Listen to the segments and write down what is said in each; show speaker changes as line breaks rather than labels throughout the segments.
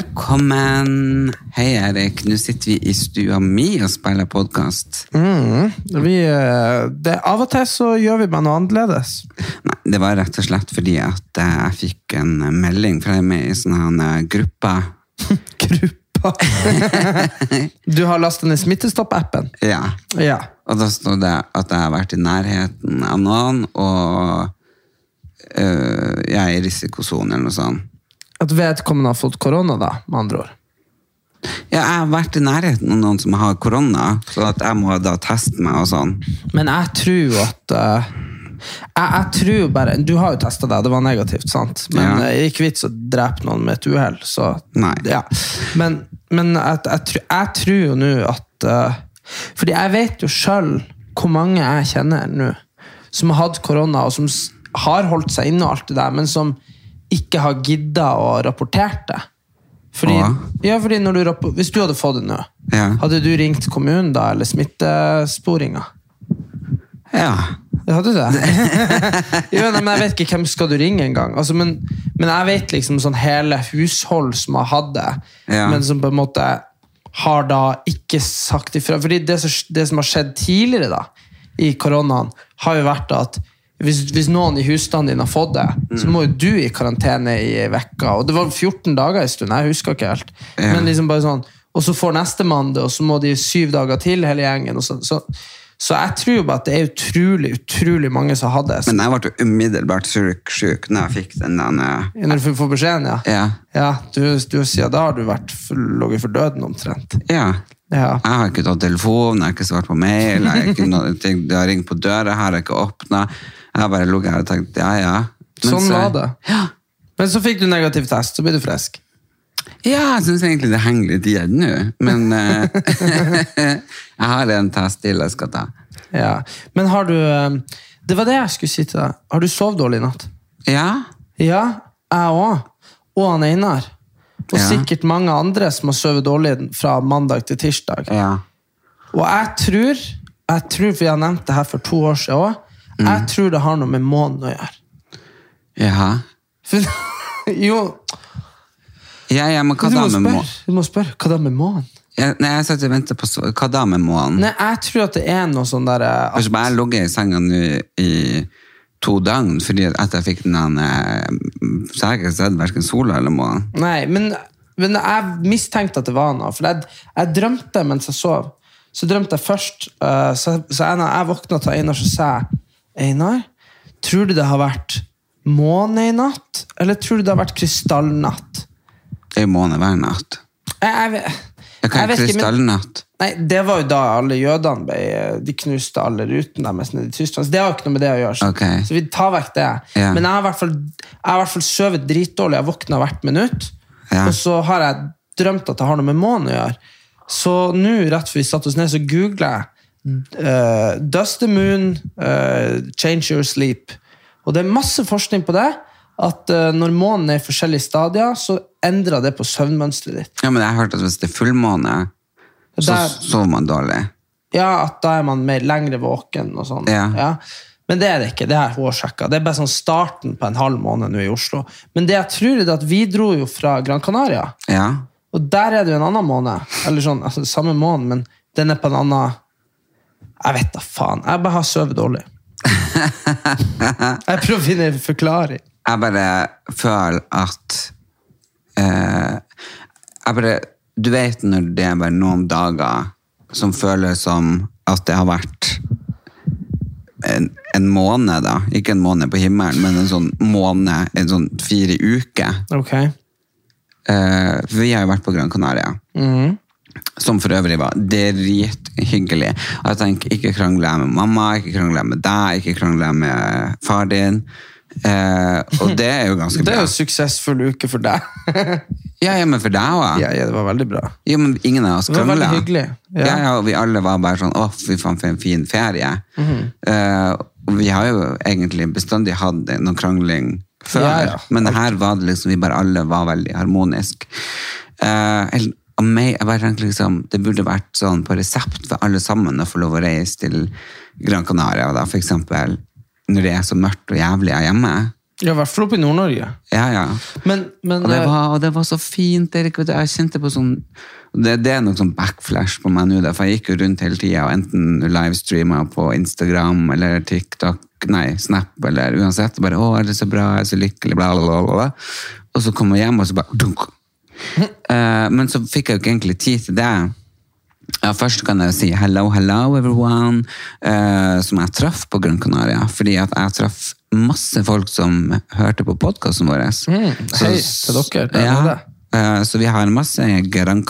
Velkommen. Hei, Erik. Nå sitter vi i stua mi og spiller podkast.
Vi, eh, det, av og til så gjør vi bare noe annerledes.
Nei, det var rett og slett fordi at eh, jeg fikk en eh, melding fra en med i sånn her eh, gruppe.
Gruppa. Du har lastet ned Smittestopp-appen.
Ja.
Ja.
Og da stod det at jeg har vært i nærheten av noen, og eh, jeg er i risikosonen eller noe sånt.
At vedkommende har fått korona, da, med andre ord.
Ja, jeg har vært i nærheten av noen som har korona, så at jeg må da teste meg og sånn.
Men jeg tror at eh, jeg, jeg tror jo bare Du har jo testa deg, det var negativt, sant? Men
Ja.
eh, ikke vits å drepe noen med et uhell, så
Nei.
Ja. Men, men jeg, jeg, tror- jeg tror jo nå at eh, Fordi jeg vet jo sjøl hvor mange jeg kjenner nå som har hatt korona, og som s- har holdt seg inne og alt det der, men som ikke har gidda å rapportere det. Fordi,
Ja.
ja, fordi når du rappo- Hvis du hadde fått det nå,
Ja.
hadde du ringt kommunen da, eller smittesporinga?
Ja.
Ja, hadde du det? jo, nei, men jeg vet ikke hvem skal du ringe engang. Altså, men, men jeg vet liksom sånn hele hushold som har hatt det,
Ja.
men som på en måte har da ikke sagt ifra. Fordi det som, det som har skjedd tidligere da, i koronaen, har jo vært at hvis, hvis noen i husstanden din har fått det, så
Mm.
må jo du i karantene i ei uke. Og det var 14 dager en stund, jeg husker ikke helt.
Ja.
Men liksom bare sånn, og så får nestemann det, og så må de syv dager til, hele gjengen. Og så, så, så jeg tror jo bare at det er utrolig utrolig mange som har det.
Men jeg ble jo umiddelbart syk, syk når jeg fikk den der eh,
Når du får beskjeden, ja.
Ja.
du, du sier da har du vært for- ligget for døden, omtrent.
Ja.
Ja.
Jeg har ikke tatt telefonen, jeg har ikke svart på mail, jeg har ikke noe, ting, det har ringt på døra, jeg har ikke åpna. Jeg har bare ligget her og tenkt ja, ja.
Sånn
så,
var det.
Ja,
Men så fikk du negativ test, så ble du frisk.
ja jeg syns egentlig det henger litt igjen nå, men eh, jeg har en test til jeg skal ta.
Ja. Men har du eh, Det var det jeg skulle si til deg. Har du sovet dårlig i natt?
Ja,
Ja, jeg òg. Og han Einar. Og
Ja.
sikkert mange andre som har sovet dårlig fra mandag til tirsdag.
ja.
Og jeg tror, jeg tror for jeg har nevnt det her for to år siden òg,
Mm.
jeg tror det har noe med månen å gjøre.
Ja,
For, jo,
ja, ja men hva
du
da
må,
med
spørre,
månen? Mm.
du må spørre hva da med månen?
Ja, nei, jeg satt og ventet på svar. Hva da med månen?
Nei, jeg tror at det er noe sånn der eh,
Kanskje bare jeg har ligget i senga nå i to døgn, fordi at jeg fikk den eh, Så har jeg ikke sett verken sola eller månen.
at- Nei, men, men jeg mistenkte at det var noe. For jeg, jeg drømte mens jeg sov. Så drømte jeg først eh, Så, så jeg, når jeg våkna til Einar, så sa jeg Einar, tror du det har vært måne i natt? Eller tror du det har vært krystallnatt?
Det er jo måne hver natt.
Jeg, jeg, vet-
Jeg kan
jeg vet ikke, men-
krystallnatt.
Nei, Det var jo da alle jødene ble, de knuste alle rutene deres nede i Tyskland. Så det har jo ikke noe med det å gjøre. Så,
Ok.
så vi tar vekk det.
Ja.
Men jeg har i hvert fall, jeg har i hvert fall sovet dritdårlig. Jeg våkna hvert minutt.
Ja.
Og så har jeg drømt at det har noe med månen å gjøre. Så nå, rett før vi satte oss ned, så googla jeg eh, 'Does the moon eh, change your sleep?' Og det er masse forskning på det. At eh, når månen er i forskjellige stadier, så endrer det på søvnmønsteret ditt.
Ja, men jeg har hørt at hvis det er fullmåne, så
Der-
sover man dårlig.
Ja, at da er man mer lengre våken og sånn.
Ja.
Men det er det ikke. Det er hårsjekka. Det er bare sånn starten på en halv måned nå i Oslo. Men det jeg tror er det at vi dro jo fra Gran Canaria,
Ja.
og der er det jo en annen måned. Eller sånn, altså samme måned, men den er på en annen Jeg vet da faen. Jeg bare har sovet dårlig. Jeg prøver å finne en forklaring.
Jeg bare føler at eh, Jeg bare Du vet når det er bare noen dager som føles som at det har vært en, en måned, da. Ikke en måned på himmelen, men en sånn måned, en sånn fire uker.
Ok.
Eh, for vi har jo vært på Gran Canaria.
Mhm.
Som for øvrig var drithyggelig. Og jeg tenker, ikke krangle jeg med mamma, ikke krangle jeg med deg, ikke krangle jeg med far din. Eh, og det er jo ganske
Det er
bra.
jo en suksessfull uke for deg.
Ja, ja, men for deg òg.
ja, ja, det var veldig bra.
Jo, men ingen av oss
Det var
krangla.
veldig hyggelig, ja.
Ja. Ja, og vi alle var bare sånn 'Å, fy faen, for en fin ferie'.
Mhm.
Eh, og vi har jo egentlig bestandig hatt noen krangling før,
Ja, ja.
men her var det liksom vi bare alle var veldig harmonisk. Eh, eller, og meg, jeg bare tenkte liksom, Det burde vært sånn på resept for alle sammen å få lov å reise til Gran Canaria, da, for eksempel, når det er så mørkt og jævlig her hjemme.
Ja, I hvert fall oppe i Nord-Norge.
Ja, ja.
Men, men
Og det,
eh,
var, og det var så fint, Erik. vet du. Jeg kjente på sånn det, det er nok sånn backflash på meg nå, da, for jeg gikk jo rundt hele tida og enten livestreama på Instagram eller TikTok, nei, Snap eller uansett. Bare 'Å, er det så bra? Jeg er så lykkelig?' Bla, bla, bla, bla, bla. Og så kom jeg hjem, og så bare dunk. Eh, Men så fikk jeg jo ikke egentlig tid til det. Ja, først kan jeg si hello, hello everyone, eh, som jeg traff på Gran Canaria. Fordi at jeg traff masse folk som hørte på podkasten vår.
Mm, hei til dere der
ja,
nede.
eh, så vi har masse Gran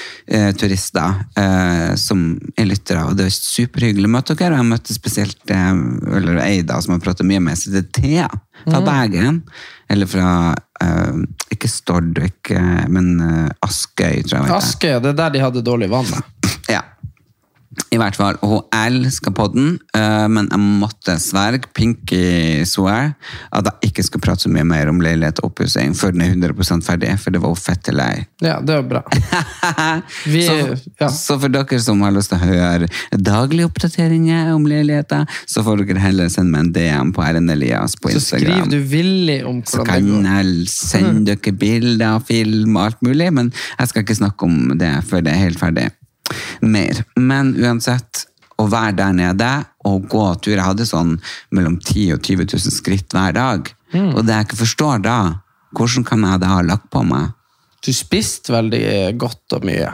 Canaria-turister eh, som er lyttere, og det er superhyggelig å møte dere. Og jeg møtte spesielt eh, eller ei da, som jeg pratet mye med, som heter Thea fra Bergen. Eller fra eh, ikke Stord, ikke, men eh, Askøy, tror jeg. hun heter.
Askøy, det er der de hadde dårlig vann. da.
Ja. I hvert fall. Og hun elsker podden, eh, men jeg måtte sverge pinky swear at jeg ikke skal prate så mye mer om leilighet og oppussing før den er 100 ferdig, for det var hun fette lei.
Ja, det er jo bra. Vi-
så,
ja.
så for dere som har lyst til å høre daglige oppdateringer om leiligheter, så får dere heller sende meg en DM på Erlend Elias på
Så skriver
Instagram.
du villig om
Så
hvordan
kan
det går. Mm.
jeg sende dere bilder og film og alt mulig, men jeg skal ikke snakke om det før det er helt ferdig. Mer. Men uansett, å være der nede og gå tur Jeg hadde sånn mellom 10 og 20 000 skritt hver dag.
Mm.
Og det jeg ikke forstår da, hvordan kan jeg da ha lagt på meg?
Du spiste veldig godt og mye.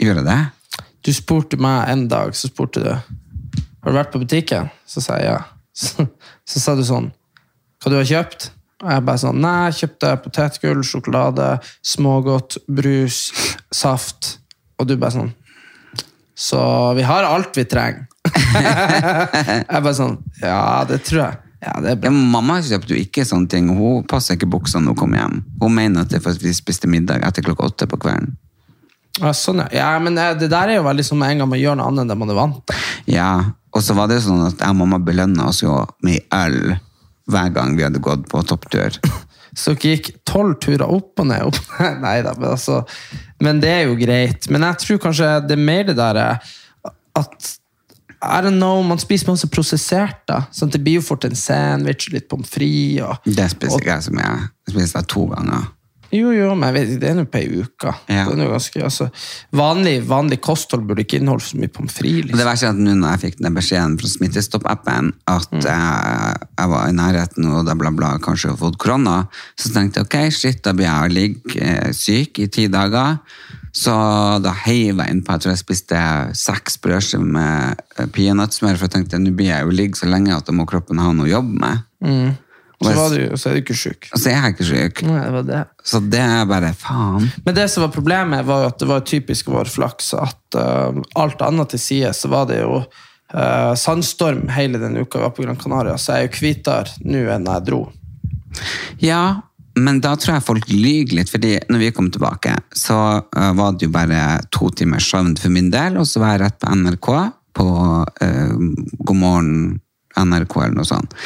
Gjorde jeg det?
Du spurte meg en dag, så spurte du Har du vært på butikken? Så sa jeg ja. Så, så sa du sånn Hva du har kjøpt? Og jeg bare sånn Nei, jeg kjøpte potetgull, sjokolade, smågodt, brus, saft. Og du bare sånn Så vi har alt vi trenger. jeg bare sånn Ja, det tror jeg. Ja, det er
Ja,
bra.
men mamma kjøpte jo ikke sånne ting. og Hun passer ikke buksa når hun kommer hjem. Hun mener at det er for at vi spiste middag etter klokka åtte på kvelden.
Ja, sånn, ja. ja, men eh, det der er jo veldig sånn med en gang man gjør noe annet enn det man er vant til.
Ja, og så var det jo sånn at jeg og mamma belønna oss jo med øl hver gang vi hadde gått på topptur.
Så dere gikk tolv turer opp og ned. Opp. Nei da, men altså Men det er jo greit. Men jeg tror kanskje det er mer det der eh, at I don't know, man spiser masse prosessert. da sånn, Det blir jo fort en sandwich og litt pommes frites. og-
Det spiser
og-
ikke jeg så mye. Jeg spiser det to ganger.
Jo, jo, men jeg vet, ikke, det er nå på ei uke.
Ja.
Det er nå ganske, altså, vanlig, vanlig kosthold burde ikke inneholde så mye pommes frites.
Og Det
Liksom.
verste er at nå når jeg fikk den beskjeden fra Smittestopp-appen at
Mm.
jeg, jeg var i nærheten og da bla bla kanskje har fått korona, så tenkte jeg ok, shit, da blir jeg å ligge eh, syk i ti dager. Så da heiv jeg innpå, jeg tror jeg spiste seks brødskiver med eh, peanøttsmør, for jeg tenkte nå blir jeg jo ligge så lenge at da må kroppen ha noe å jobbe med.
Mm. Så, var du, så er du ikke sjuk.
Og så er jeg ikke syk.
Nei, det var det.
Så det er bare faen.
Men det som var problemet var jo at det var typisk vår flaks at eh, alt annet til side, så var det jo eh, sandstorm hele den uka vi var på Gran Canaria, så jeg er jo hvitere nå enn jeg dro.
Ja, men da tror jeg folk lyger litt, fordi når vi kom tilbake, så eh, var det jo bare to timers søvn for min del, og så var jeg rett på NRK på eh, God morgen NRK eller noe sånt.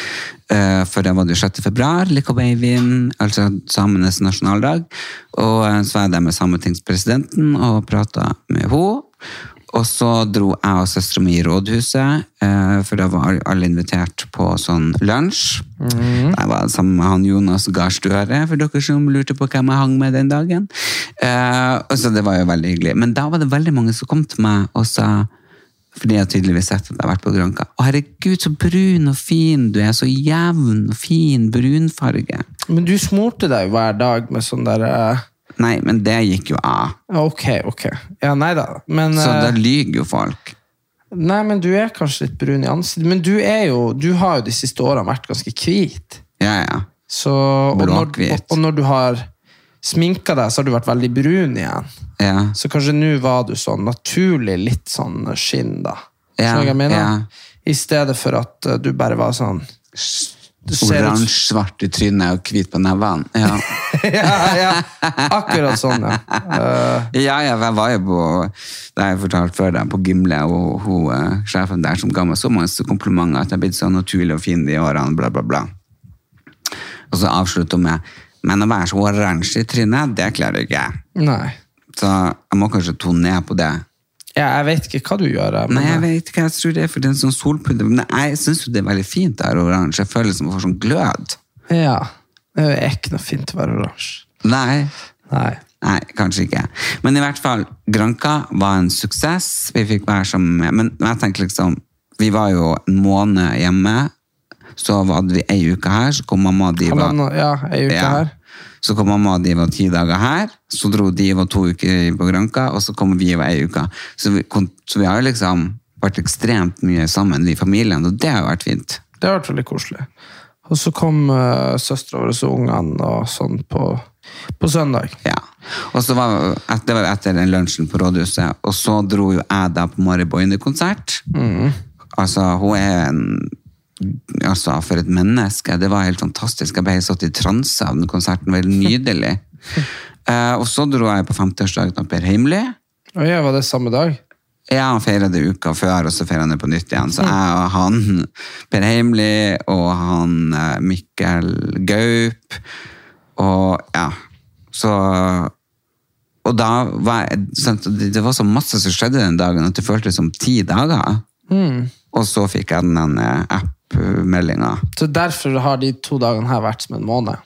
Eh, for da var det jo 6. februar, Lico Babyen, altså samenes nasjonaldag, og eh, så var jeg der med sametingspresidenten og pratet med henne, og så dro jeg og søstera mi i rådhuset, eh, for da var alle invitert på sånn lunsj. Der var jeg sammen med han Jonas Gahr Støre, for dere som lurte på hvem jeg hang med den dagen. Eh, og så det var jo veldig hyggelig. Men da var det veldig mange som kom til meg og sa fordi jeg har tydeligvis sett at jeg har vært på Granca. Å, herregud, så brun og fin du er. Så jevn og fin brunfarge.
Men du smurte deg jo hver dag med sånn der eh,
Nei, men det gikk jo av.
Ok, ok. Ja, nei da. Men
Så da
eh,
lyver jo folk.
Nei, men du er kanskje litt brun i ansiktet. Men du er jo, du har jo de siste årene vært ganske hvit.
Ja, ja.
Så, og, når, og,
Bråkhvit.
og når du har sminka deg, så har du vært veldig brun igjen.
ja.
Så kanskje nå var du sånn naturlig litt sånn skinn, da.
Ja,
Skjønner du hva jeg mener?
ja.
I stedet for at eh, du bare var sånn du ser ut-
Oransje-svart i trynet og hvit på nevene. Ja.
ja, ja, akkurat sånn, ja. Eh,
ja, ja, jeg var jo på det har jeg fortalt før da, på Gimle, og hun, eh, sjefen der som ga meg så mange komplimenter at jeg har blitt så naturlig og fin de årene, bla, bla, bla. Og så avslutter hun med Men å være så oransje i trynet, det klarer ikke jeg.
nei.
Så jeg må kanskje tone ned på det.
Ja, jeg vet ikke hva du gjør. jeg, men-
Nei, jeg vet ikke hva jeg tror det er, for det er en sånn solpudder. Men jeg syns jo det er veldig fint det her oransje. Jeg føler som jeg får sånn glød.
eh, Ja. Det er ikke noe fint å være oransje.
Nei.
Nei.
Nei, kanskje ikke. Men i hvert fall, Granca var en suksess. Vi fikk være sammen med Men jeg tenker liksom Vi var jo en måned hjemme. Så hadde vi ei uke her, så kom mamma og de var
Halvannen, eh, ja, ei uke
Ja.
her.
Så kom mamma og de var ti dager her, så dro de og var to uker på Granca, og så kom vi og var ei uke. Så vi, kon- så vi har jo liksom vært ekstremt mye sammen, vi i familien, og det har jo vært fint.
Det har vært veldig koselig. Og så kom uh, søstera vår og ungene og sånn på, på søndag.
Ja. Og så var at- det var jo etter den lunsjen på rådhuset, og så dro jo jeg da på Mari Boine-konsert. Altså, hun er en Altså, for et menneske. Det var helt fantastisk. Jeg ble helt satt i transe av den konserten. Veldig nydelig. Eh, og så dro jeg på 50-årsdagen av Per Heimly.
Og jeg var det samme dag.
Ja, han feiret det uka før, og så feiret han det på nytt igjen. Så jeg og han, Per Heimli, og han eh, Mikkel Gaup, og ja, så... Og da var jeg, sant, det det var så masse som skjedde den dagen, at det føltes som ti dager. Og så fikk jeg den eh, app-meldingen.
Så derfor har de to dagene her vært som en måned.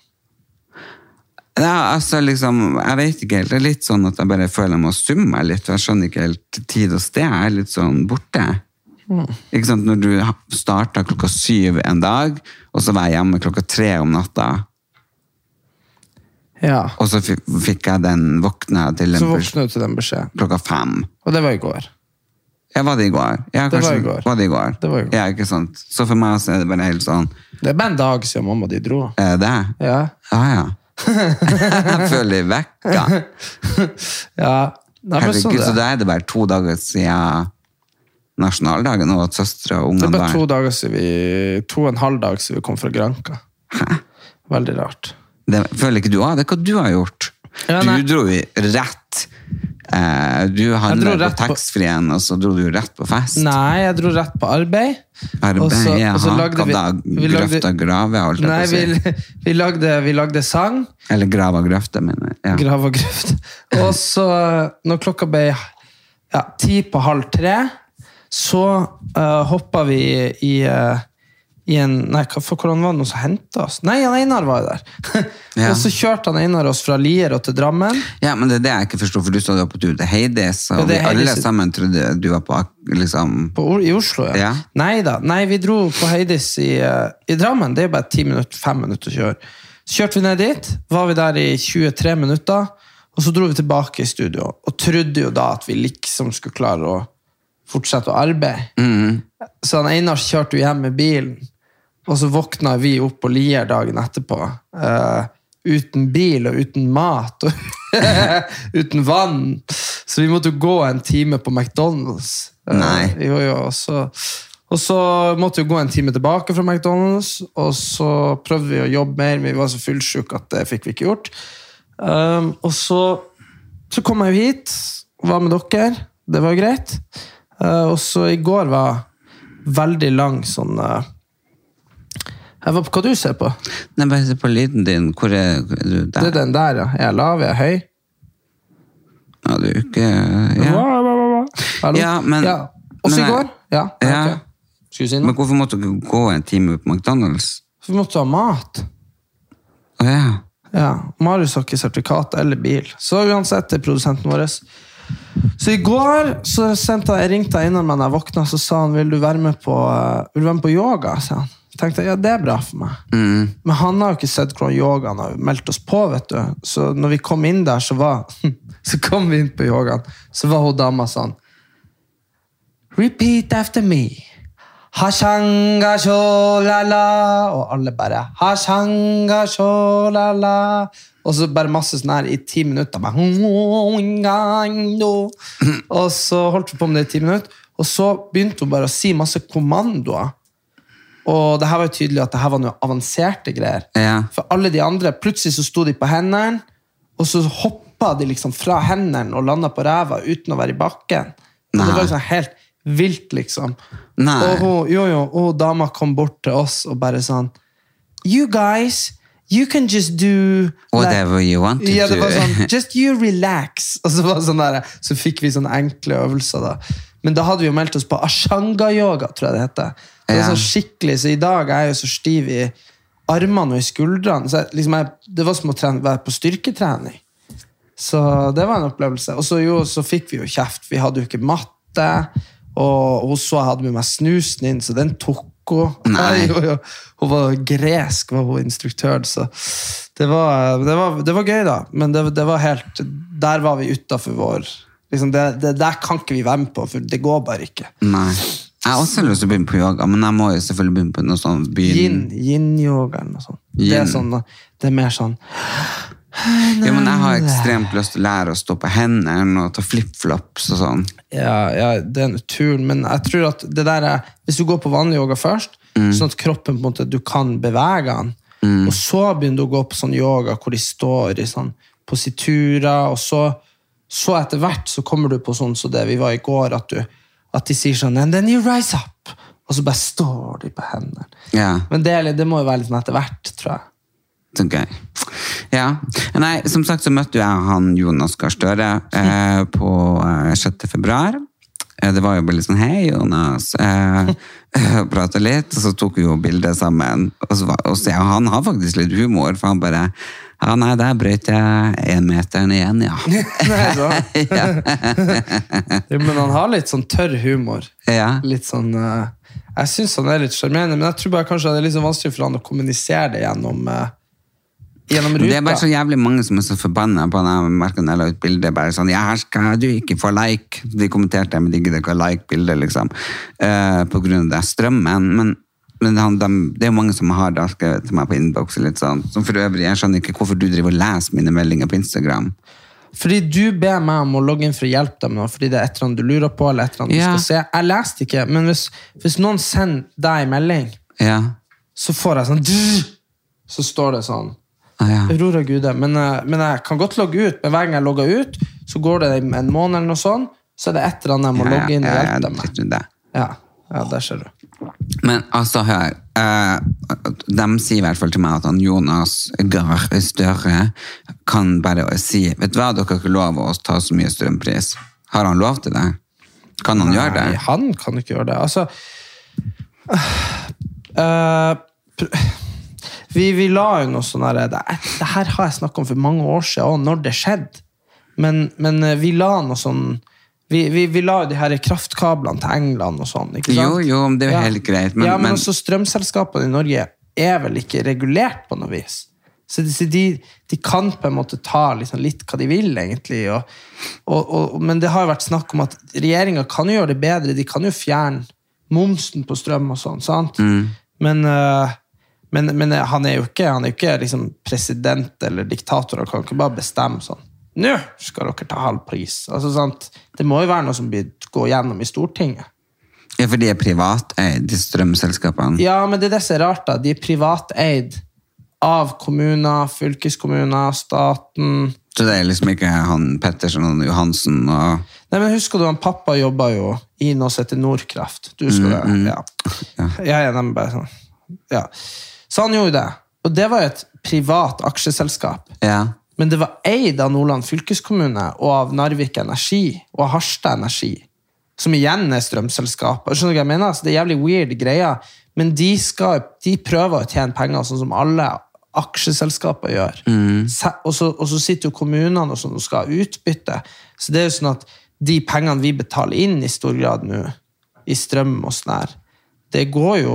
Ja, altså liksom, jeg vet ikke helt. Det er litt sånn at jeg bare føler jeg må summe meg litt, for jeg skjønner ikke helt tid og sted. Jeg er litt sånn borte. Ikke sant, når du startet klokka syv en dag, og så var jeg hjemme klokka tre om natta,
Ja.
og så fi- fikk jeg den våkna til
Så
den bes-
våkna du til den beskjeden.
klokka fem.
Og det var i går.
Ja, var det i går? Ja,
Det var
kanskje-
i går.
Var det i går?
Det var i går.
Ja, ikke sant? Så for meg så er det bare helt sånn,
Det er bare en dag siden mamma og de dro.
er det det?
Ja.
Ja, ja. jeg føler vekka.
ja. Nei, men sånn
Herregud, så
det.
da er det bare to dager siden nasjonaldagen, og at søstre og
Det er
ungene
bare to
var
dager siden vi To og en halv dag siden vi kom fra Granca. Veldig rart.
det, Føler ikke du av det? Hva du har gjort?
Ja, nei.
du dro jo rett eh, Du handla på
rett på-
taxfree-en, og så dro du jo rett på fest.
Nei, jeg dro rett på arbeid.
Arbeid,
og så-
jaha,
og så lagde
hva
vi-
da?
vi lagde-
Grøfta grave, holdt jeg
Nei,
på å si.
vi, vi, lagde, vi lagde sang.
Eller grava grøfta, mener jeg. Ja.
Grav og grøft. Og så, eh, når klokka ble ja, ti på halv tre, så uh, hoppa vi i, eh, i en Nei, hva- for hvordan var det noen som henta oss? Nei, han Einar var jo der.
Ja.
Og så kjørte han Einar oss fra Lier og til Drammen.
ja, men det er det jeg ikke forstår, for du sa du var på tur til Heidis,
Ja,
og
det er
vi alle
Heidis-
sammen trodde du var på ak- liksom
På, O- I Oslo, ja.
Ja.
Nei da. Nei, vi dro på Heidis i, eh, i Drammen. Det er bare ti minutter, fem minutter å kjøre. Så kjørte vi ned dit, var vi der i 23 minutter, og så dro vi tilbake i studio. Og trodde jo da at vi liksom skulle klare å fortsette å arbeide. Så han Einar kjørte jo hjem med bilen, og så våkna vi opp på Lier dagen etterpå. eh, uten bil og uten mat og uten vann. Så vi måtte jo gå en time på McDonald's. Eh,
Nei.
jo, jo, og, så, og så måtte vi gå en time tilbake fra McDonald's, og så prøvde vi å jobbe mer, men vi var så fullsjuke at det fikk vi ikke gjort. Um, og så, så kom jeg jo hit, var med dere, det var jo greit. Eh, og så i går var veldig lang sånn eh, jeg var på hva du ser på.
Nei, bare se på lyden din. Hvor er hvor er du
Det
der?
er den der, ja. Er jeg lav? Er jeg høy?
Ja, du er jo ikke ja.
Hallo?
Ja, men-
ja. Også
men
i
jeg-
går? Ja.
Ja.
ok. Skulle du si
Men
noe?
hvorfor måtte dere gå en time på McDonald's?
For vi måtte ha mat.
Å ja.
Ja, Marius har ikke sertifikat eller bil. Så uansett, det er produsenten vår. Så i går så sendte jeg, jeg ringte jeg innom meg da jeg våkna, så sa han vil du være med på, eh, vil du være med på yoga. sa han. tenkte jeg, ja, det er bra for meg. Men han har jo ikke sett hvordan yogaen har meldt oss på. vet du. Så når vi kom inn der, så var, så kom vi inn på yogaen, så var hun dama sånn Repeat after me. Hashanga sholala. Og alle bare Hashanga sholala. Og så bare masse sånn her i ti minutter. Bare, og så holdt vi på med det i ti minutter. Og så begynte hun bare å si masse kommandoer. Og det her var jo tydelig at det her var noe avanserte greier.
Ja.
For alle de andre, plutselig så sto de på hendene, og så hoppa de liksom fra hendene og landa på ræva uten å være i bakken. Og
Nei.
Det var liksom helt vilt, liksom.
Nei.
Og hun, jo, jo, og dama kom bort til oss og bare sånn You guys, you can just do
Whatever you want to
ja, det var
do."
Sånn, Just you relax. Og så, var det sånn der, så fikk vi sånne enkle øvelser. da. Men da hadde vi jo meldt oss på ashanga-yoga, tror jeg det heter. Det var
Ja.
sånn skikkelig, Så i dag er jeg jo så stiv i armene og i skuldrene. Så jeg, liksom jeg, det var som å trene, være på styrketrening. Så det var en opplevelse. Og så, jo, så fikk vi jo kjeft. Vi hadde jo ikke matte. Og hun så jeg hadde med meg snusen inn, så den tok hun.
Nei.
Jo, jo. Hun var gresk, var hun instruktør, så det var, det var, det var gøy, da. Men det, det var helt Der var vi utafor vår liksom det, det Der kan ikke vi være med på, for det går bare ikke.
Nei. Jeg har også lyst til å begynne på yoga, men jeg må jo selvfølgelig begynne på noe sånn
Yin,
begynn.
yin-yoga eller noe sånt. Det
Yin.
er, sånn, det er mer sånn
Jo, men jeg har ekstremt lyst til å lære å stå på hendene og ta flipflops og sånn.
ja, ja, det er en turn, men jeg tror at det der er, hvis du går på vanlig yoga først, sånn at kroppen på en måte, du kan bevege den, og så begynner du å gå på sånn yoga hvor de står i sånn positurer, og så, så etter hvert så kommer du på sånn som det vi var i går, at, du, at de sier sånn, and then you rise up, og så bare står de på hendene.
Ja.
Men det, er litt- det må jo være litt sånn etter hvert, tror jeg.
Så gøy. Ja. Nei, som sagt så møtte jo jeg han Jonas Gahr Støre eh, på eh, 6. februar. Eh, Det var jo bare litt sånn Hei, Jonas. Eh, Prata litt, og så tok vi jo bilde sammen. Og, så var, og så, ja, han har faktisk litt humor, for han bare Ja, nei, der brøyt jeg énmeteren igjen, ja.
Nei, så. Jo, men han har litt sånn tørr humor.
Ja.
Litt sånn eh, Jeg syns han er litt sjarmerende, men jeg tror bare kanskje det er litt sånn vanskelig for han å kommunisere det gjennom eh, Gjennom ruta.
Det er bare sånn- så jævlig mange som er så forbanna på den jeg merker når jeg la ut bilde. Bare sånn 'Ja, her skal du ikke få like'. De kommenterte men de gidder ikke å like bildet, liksom. Eh, på grunn av det strømmen. Men, men han, dem- det er jo mange som har da skrevet til meg på innboks. litt Sånn. Som for øvrig, jeg skjønner ikke hvorfor du driver og leser mine meldinger på Instagram.
Fordi du ber meg om å logge inn for å hjelpe deg med noe, fordi det er et eller annet du lurer på, eller et eller annet
Ja.
du skal se. Jeg leste ikke, men hvis, hvis noen sender deg en melding,
Ja.
så får jeg sånn «Dzz!» Så står det sånn
Ah, ja.
Aurora Gude. Men, eh, men jeg kan godt logge ut. Men hver gang jeg logger ut, så går det en en måned eller noe sånn, så er det et eller annet jeg må
Ja,
logge inn og
ja, ja,
hjelpe dem
drit
med.
i det.
Ja, ja der ser du.
Men altså, hør. eh, de sier i hvert fall til meg at han Jonas Gahr Støre kan bare si Vet du hva, dere har ikke lov å ta så mye strømpris. Har han lov til det? Kan han gjøre
Nei,
det?
han kan ikke gjøre det. Altså øh, pr- vi, vi la jo noe sånn her det, det her har jeg snakket om for mange år siden, og når det skjedde. Men, men øh, vi la noe sånn vi, vi, vi la jo de her kraftkablene til England og sånn. ikke sant?
Jo, jo, men det er jo helt greit, men-
ja, men,
men-
også strømselskapene i Norge er vel ikke regulert på noe vis. Så de, så de, de kan på en måte ta liksom litt hva de vil, egentlig. Og, og, og, men det har jo vært snakk om at regjeringa kan jo gjøre det bedre. De kan jo fjerne momsen på strøm og sånn, sant? Men, øh, men, men han er jo ikke, han er jo ikke liksom president eller diktator. Han kan ikke bare bestemme sånn. Nå skal dere ta halv pris. Altså, sant? Det må jo være noe som blir, går gjennom i Stortinget.
Ja, for de er privateid, de strømselskapene.
Ja, men det er det som er rart, da. De er privateid av kommuner, fylkeskommuner, staten.
Så det er liksom ikke han Pettersen og Johansen og
Nei, men husker du, han pappa jobba jo i noe som heter Nordkraft. Du husker det? Ja. Jeg er nemlig bare sånn. Ja. Så han gjorde det. Og det var jo et privat aksjeselskap.
Ja.
Men det var eid av Nordland fylkeskommune og av Narvik Energi og av Harstad Energi, som igjen er strømselskaper. Skjønner du hva jeg mener? Så det er jævlig weird greier. Men de, skal, de prøver å tjene penger, sånn som alle aksjeselskaper gjør. Se- Og, så, og så sitter jo kommunene og sånn og skal ha utbytte. Så det er jo sånn at de pengene vi betaler inn i stor grad nå, i strøm og sånn her, det går jo,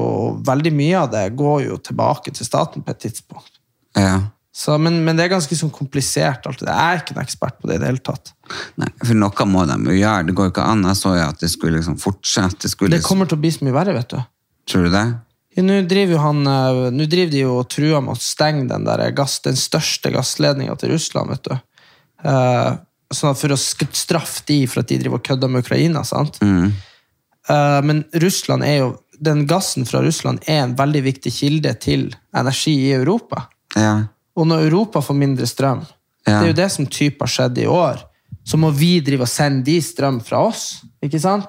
veldig mye av det går jo tilbake til staten på et tidspunkt.
ja.
Så, men, men det er ganske sånn komplisert. Alt. det der. Jeg er ikke en ekspert på det i det hele tatt.
Nei, for noe må de jo gjøre. Det går jo ikke an. Jeg så jo at det skulle liksom fortsette. Det skulle,
Det kommer til å bli så mye verre, vet du.
Tror du det?
Ja, Nå driver, jo han, eh, nå driver de jo og truer med å stenge den, der gass, den største gassledninga til Russland. vet du. Eh, sånn at For å sk- straffe de for at de driver og kødder med Ukraina. sant? Eh, men Russland er jo, den gassen fra Russland er en veldig viktig kilde til energi i Europa.
Ja.
Og når Europa får mindre strøm,
Ja.
det er jo det som typ har skjedd i år, så må vi drive og sende de strøm fra oss. ikke sant?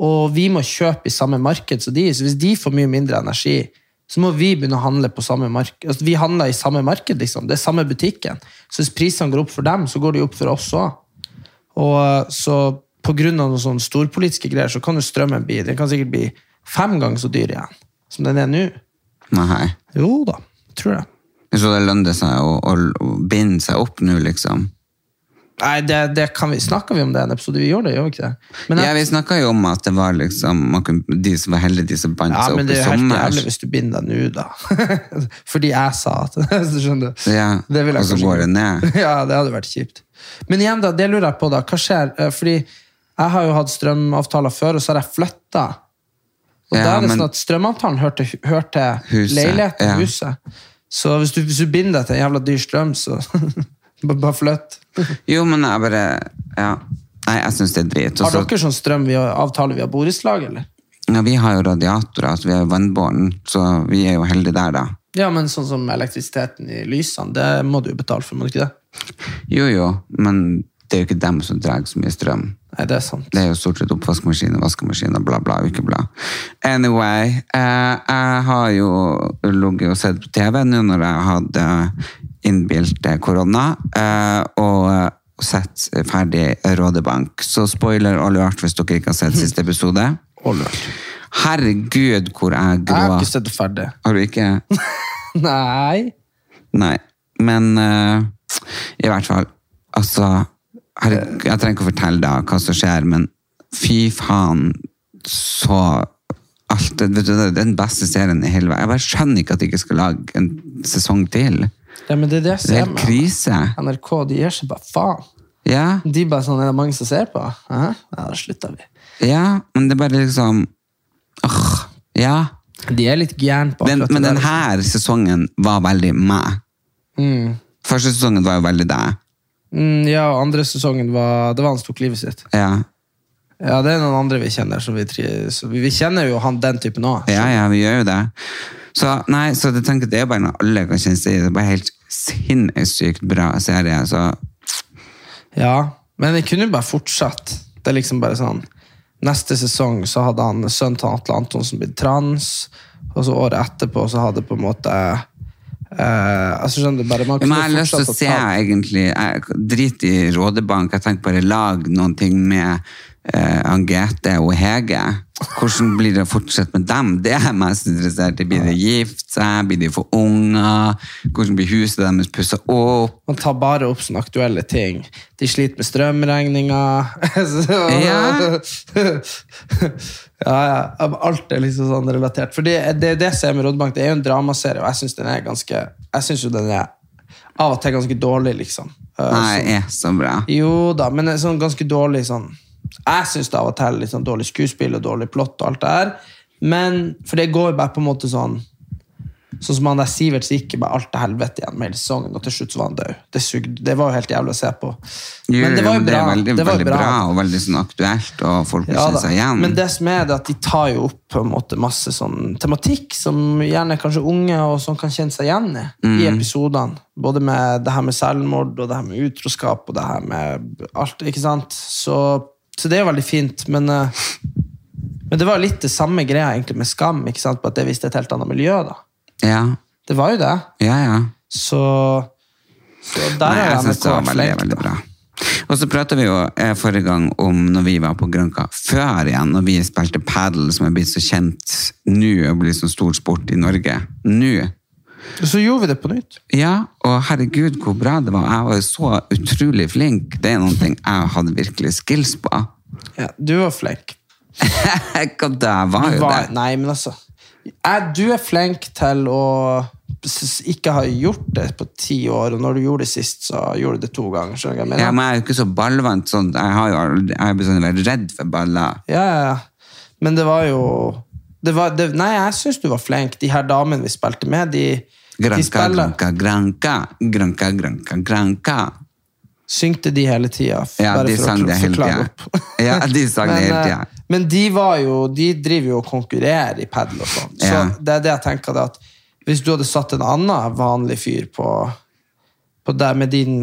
Og vi må kjøpe i samme marked som de, så hvis de får mye mindre energi, så må vi begynne å handle på samme marked. Altså, vi handler i samme marked, liksom. Det er samme butikken. Så hvis prisene går opp for dem, så går de opp for oss òg. Og eh, så på grunn av noen sånne storpolitiske greier, så kan jo strømmen bli den kan sikkert bli fem ganger så dyr igjen som den er nå.
Nei.
Jo da, jeg tror det.
Så det lønner seg å, å, å binde seg opp nå, liksom.
Nei, det, det kan vi, snakker vi om det i en episode? Vi gjorde det, gjør vi ikke det? Men,
ja, vi snakka jo om at det var liksom man kunne, de som var heldige, de som bandt
ja,
seg
men
opp i
det er jo helt
sommer.
jævlig hvis du binder deg nå, da. Fordi jeg sa at så Skjønner du?
Ja,
Det vil jeg
og så
kanskje
går det
ikke.
ned.
Ja, det hadde vært kjipt. Men igjen, da, det lurer jeg på, da. Hva skjer? Eh, Fordi jeg har jo hatt strømavtaler før, og så har jeg flytta. Og
Ja,
da er det
men-
sånn at strømavtalen hørte, hørte
Huset,
leiligheten,
ja.
huset. Så hvis du, hvis du binder deg til en jævla dyr strøm, så bare bare flytt.
Jo, men jeg bare Ja. Nei, jeg syns det er drit. Og
Har
så-
dere sånn strøm via avtale via borettslag, eller?
ja, vi har jo radiatorer, altså vi er jo vannbåren, så vi er jo heldige der, da.
Ja, men sånn som elektrisiteten i lysene, det må du jo betale for, må du ikke det?
Jo, jo, men det er jo ikke dem som drar så mye strøm.
Nei, det er sant.
Det er jo stort sett oppvaskmaskin og vaskemaskin og bla, bla, ukeblad. Anyway, eh, jeg har jo ligget og sett på TV nå når jeg hadde innbilt eh, korona, eh, og eh, sett ferdig Rådebank. Så spoiler alert hvis dere ikke har sett siste episode. Herregud, hvor jeg
Jeg har ikke
gråt.
sett det ferdig.
Har du ikke?
Nei.
Nei, men eh, i hvert fall Altså, her, jeg trenger ikke å fortelle deg hva som skjer, men fy faen, så alt, det- vet du, Det er den beste serien i hele verden. Jeg bare skjønner ikke at de ikke skal lage en sesong til.
Ja, men det er
Det er
det jeg ser
helt
med.
krise.
NRK, de gir seg bare faen.
Ja,
De bare sånn, er det mange som ser på? Hæ? Ja, da slutter vi.
ja men det er bare liksom Åh, Ja.
De er litt gæren på
Den,
akkurat
men
det
den
der.
her sesongen var veldig meg. Første sesongen var jo veldig deg.
Mm, ja, og andre sesongen var, det var han som tok livet sitt.
Ja.
Ja, det er noen andre vi kjenner, som vi, tri- så vi, vi kjenner jo han den typen også.
Ja, ja, vi gjør jo det. Så, nei, så jeg tenker det er bare noe alle kan kjenne seg i. Det er bare helt sinnssykt bra serie. altså. Så
Ja, men det kunne jo bare fortsatt. Det er liksom bare sånn Neste sesong så hadde han sønnen til Atle Antonsen blitt trans, og så året etterpå så hadde på en måte eh, altså skjønner du bare man
Ja, men jeg har
kunne
lyst til å
fortsatt
se
ha tatt-
egentlig jeg, Drit i Rådebank. Jeg tenker bare lag noen ting med eh, Angete og Hege. Hvordan blir det å fortsette med dem? Det er jeg mest interessert i. Blir de gift seg? Blir de for unger? Hvordan blir huset deres pussa opp?
Man tar bare opp sånne aktuelle ting. De sliter med strømregninger
Ja.
ja, ja. Alt er liksom sånn relatert. For det det er det som er med Rådbank. Det er jo en dramaserie, og jeg syns den er ganske Jeg synes jo den er av og til ganske dårlig, liksom. Eh,
Nei, er så bra.
Jo da, men det er sånn ganske dårlig sånn Jeg syns det av og til er litt sånn dårlig skuespill og dårlig plott og alt det her. Men For det går jo bare på en måte sånn Sånn som han der Sivert så gikk jo bare alt til helvete igjen med hele sesongen, og til slutt så var han død. Det, sugde, det var jo helt jævlig å se på. Men det var jo
Det
bra.
er veldig,
Det var jo
veldig bra. og veldig sånn aktuelt, og folk vil
Ja
kjenne
da.
seg igjen.
Men det som er det at de tar jo opp på en måte masse sånn tematikk som gjerne kanskje unge og sånn kan kjenne seg igjen i. I
Mm.
episodene. Både med det her med selvmord og det her med utroskap og det her med alt. ikke sant? Så, så det er jo veldig fint, men eh, men det var litt det samme greia egentlig med Skam, ikke sant? på at det viste et helt annet miljø. da.
Ja,
Det var jo det.
ja, ja.
Så, så der
Nei,
har
jeg
jeg
synes
NRK
det var
vært
veldig,
flink.
veldig bra. Og så pratet vi jo eh, forrige gang om når vi var på Grønka før igjen, når vi spilte paddle, som er blitt så kjent nå, og blir så stor sport i Norge. Nå.
Så gjorde vi det på nytt.
Ja, og herregud hvor bra det var. Jeg var jo så utrolig flink. Det er noen ting jeg hadde virkelig skills på.
Ja, du var flink.
Hva da, jeg var jo
Hva,
det.
nei, men altså jeg, Du er flink til å s- ikke har gjort det på ti år, og når du gjorde det sist, så gjorde du det to ganger. Skjønner du hva jeg mener?
Ja, men jeg er jo ikke så ballvant. Sånn. Jeg har jo aldri, jeg er bestandig vært redd for baller.
Ja, ja, ja. Men det var jo det var, det, Nei, jeg syns du var flink. De her damene vi spilte med, de, de
Granka,
spiller
granka, granka. Granka, granka, granka.
Syngte de hele tida? f-
Ja,
bare
de
for å
sang
kl-
det hele tida.
forklare opp.
Ja, de sang det
Men,
hele
eh,
tida.
Men de var jo De driver jo og konkurrerer i padel og sånn. Så
Ja.
det er det jeg tenker det at hvis du hadde satt en annen vanlig fyr på, på deg med din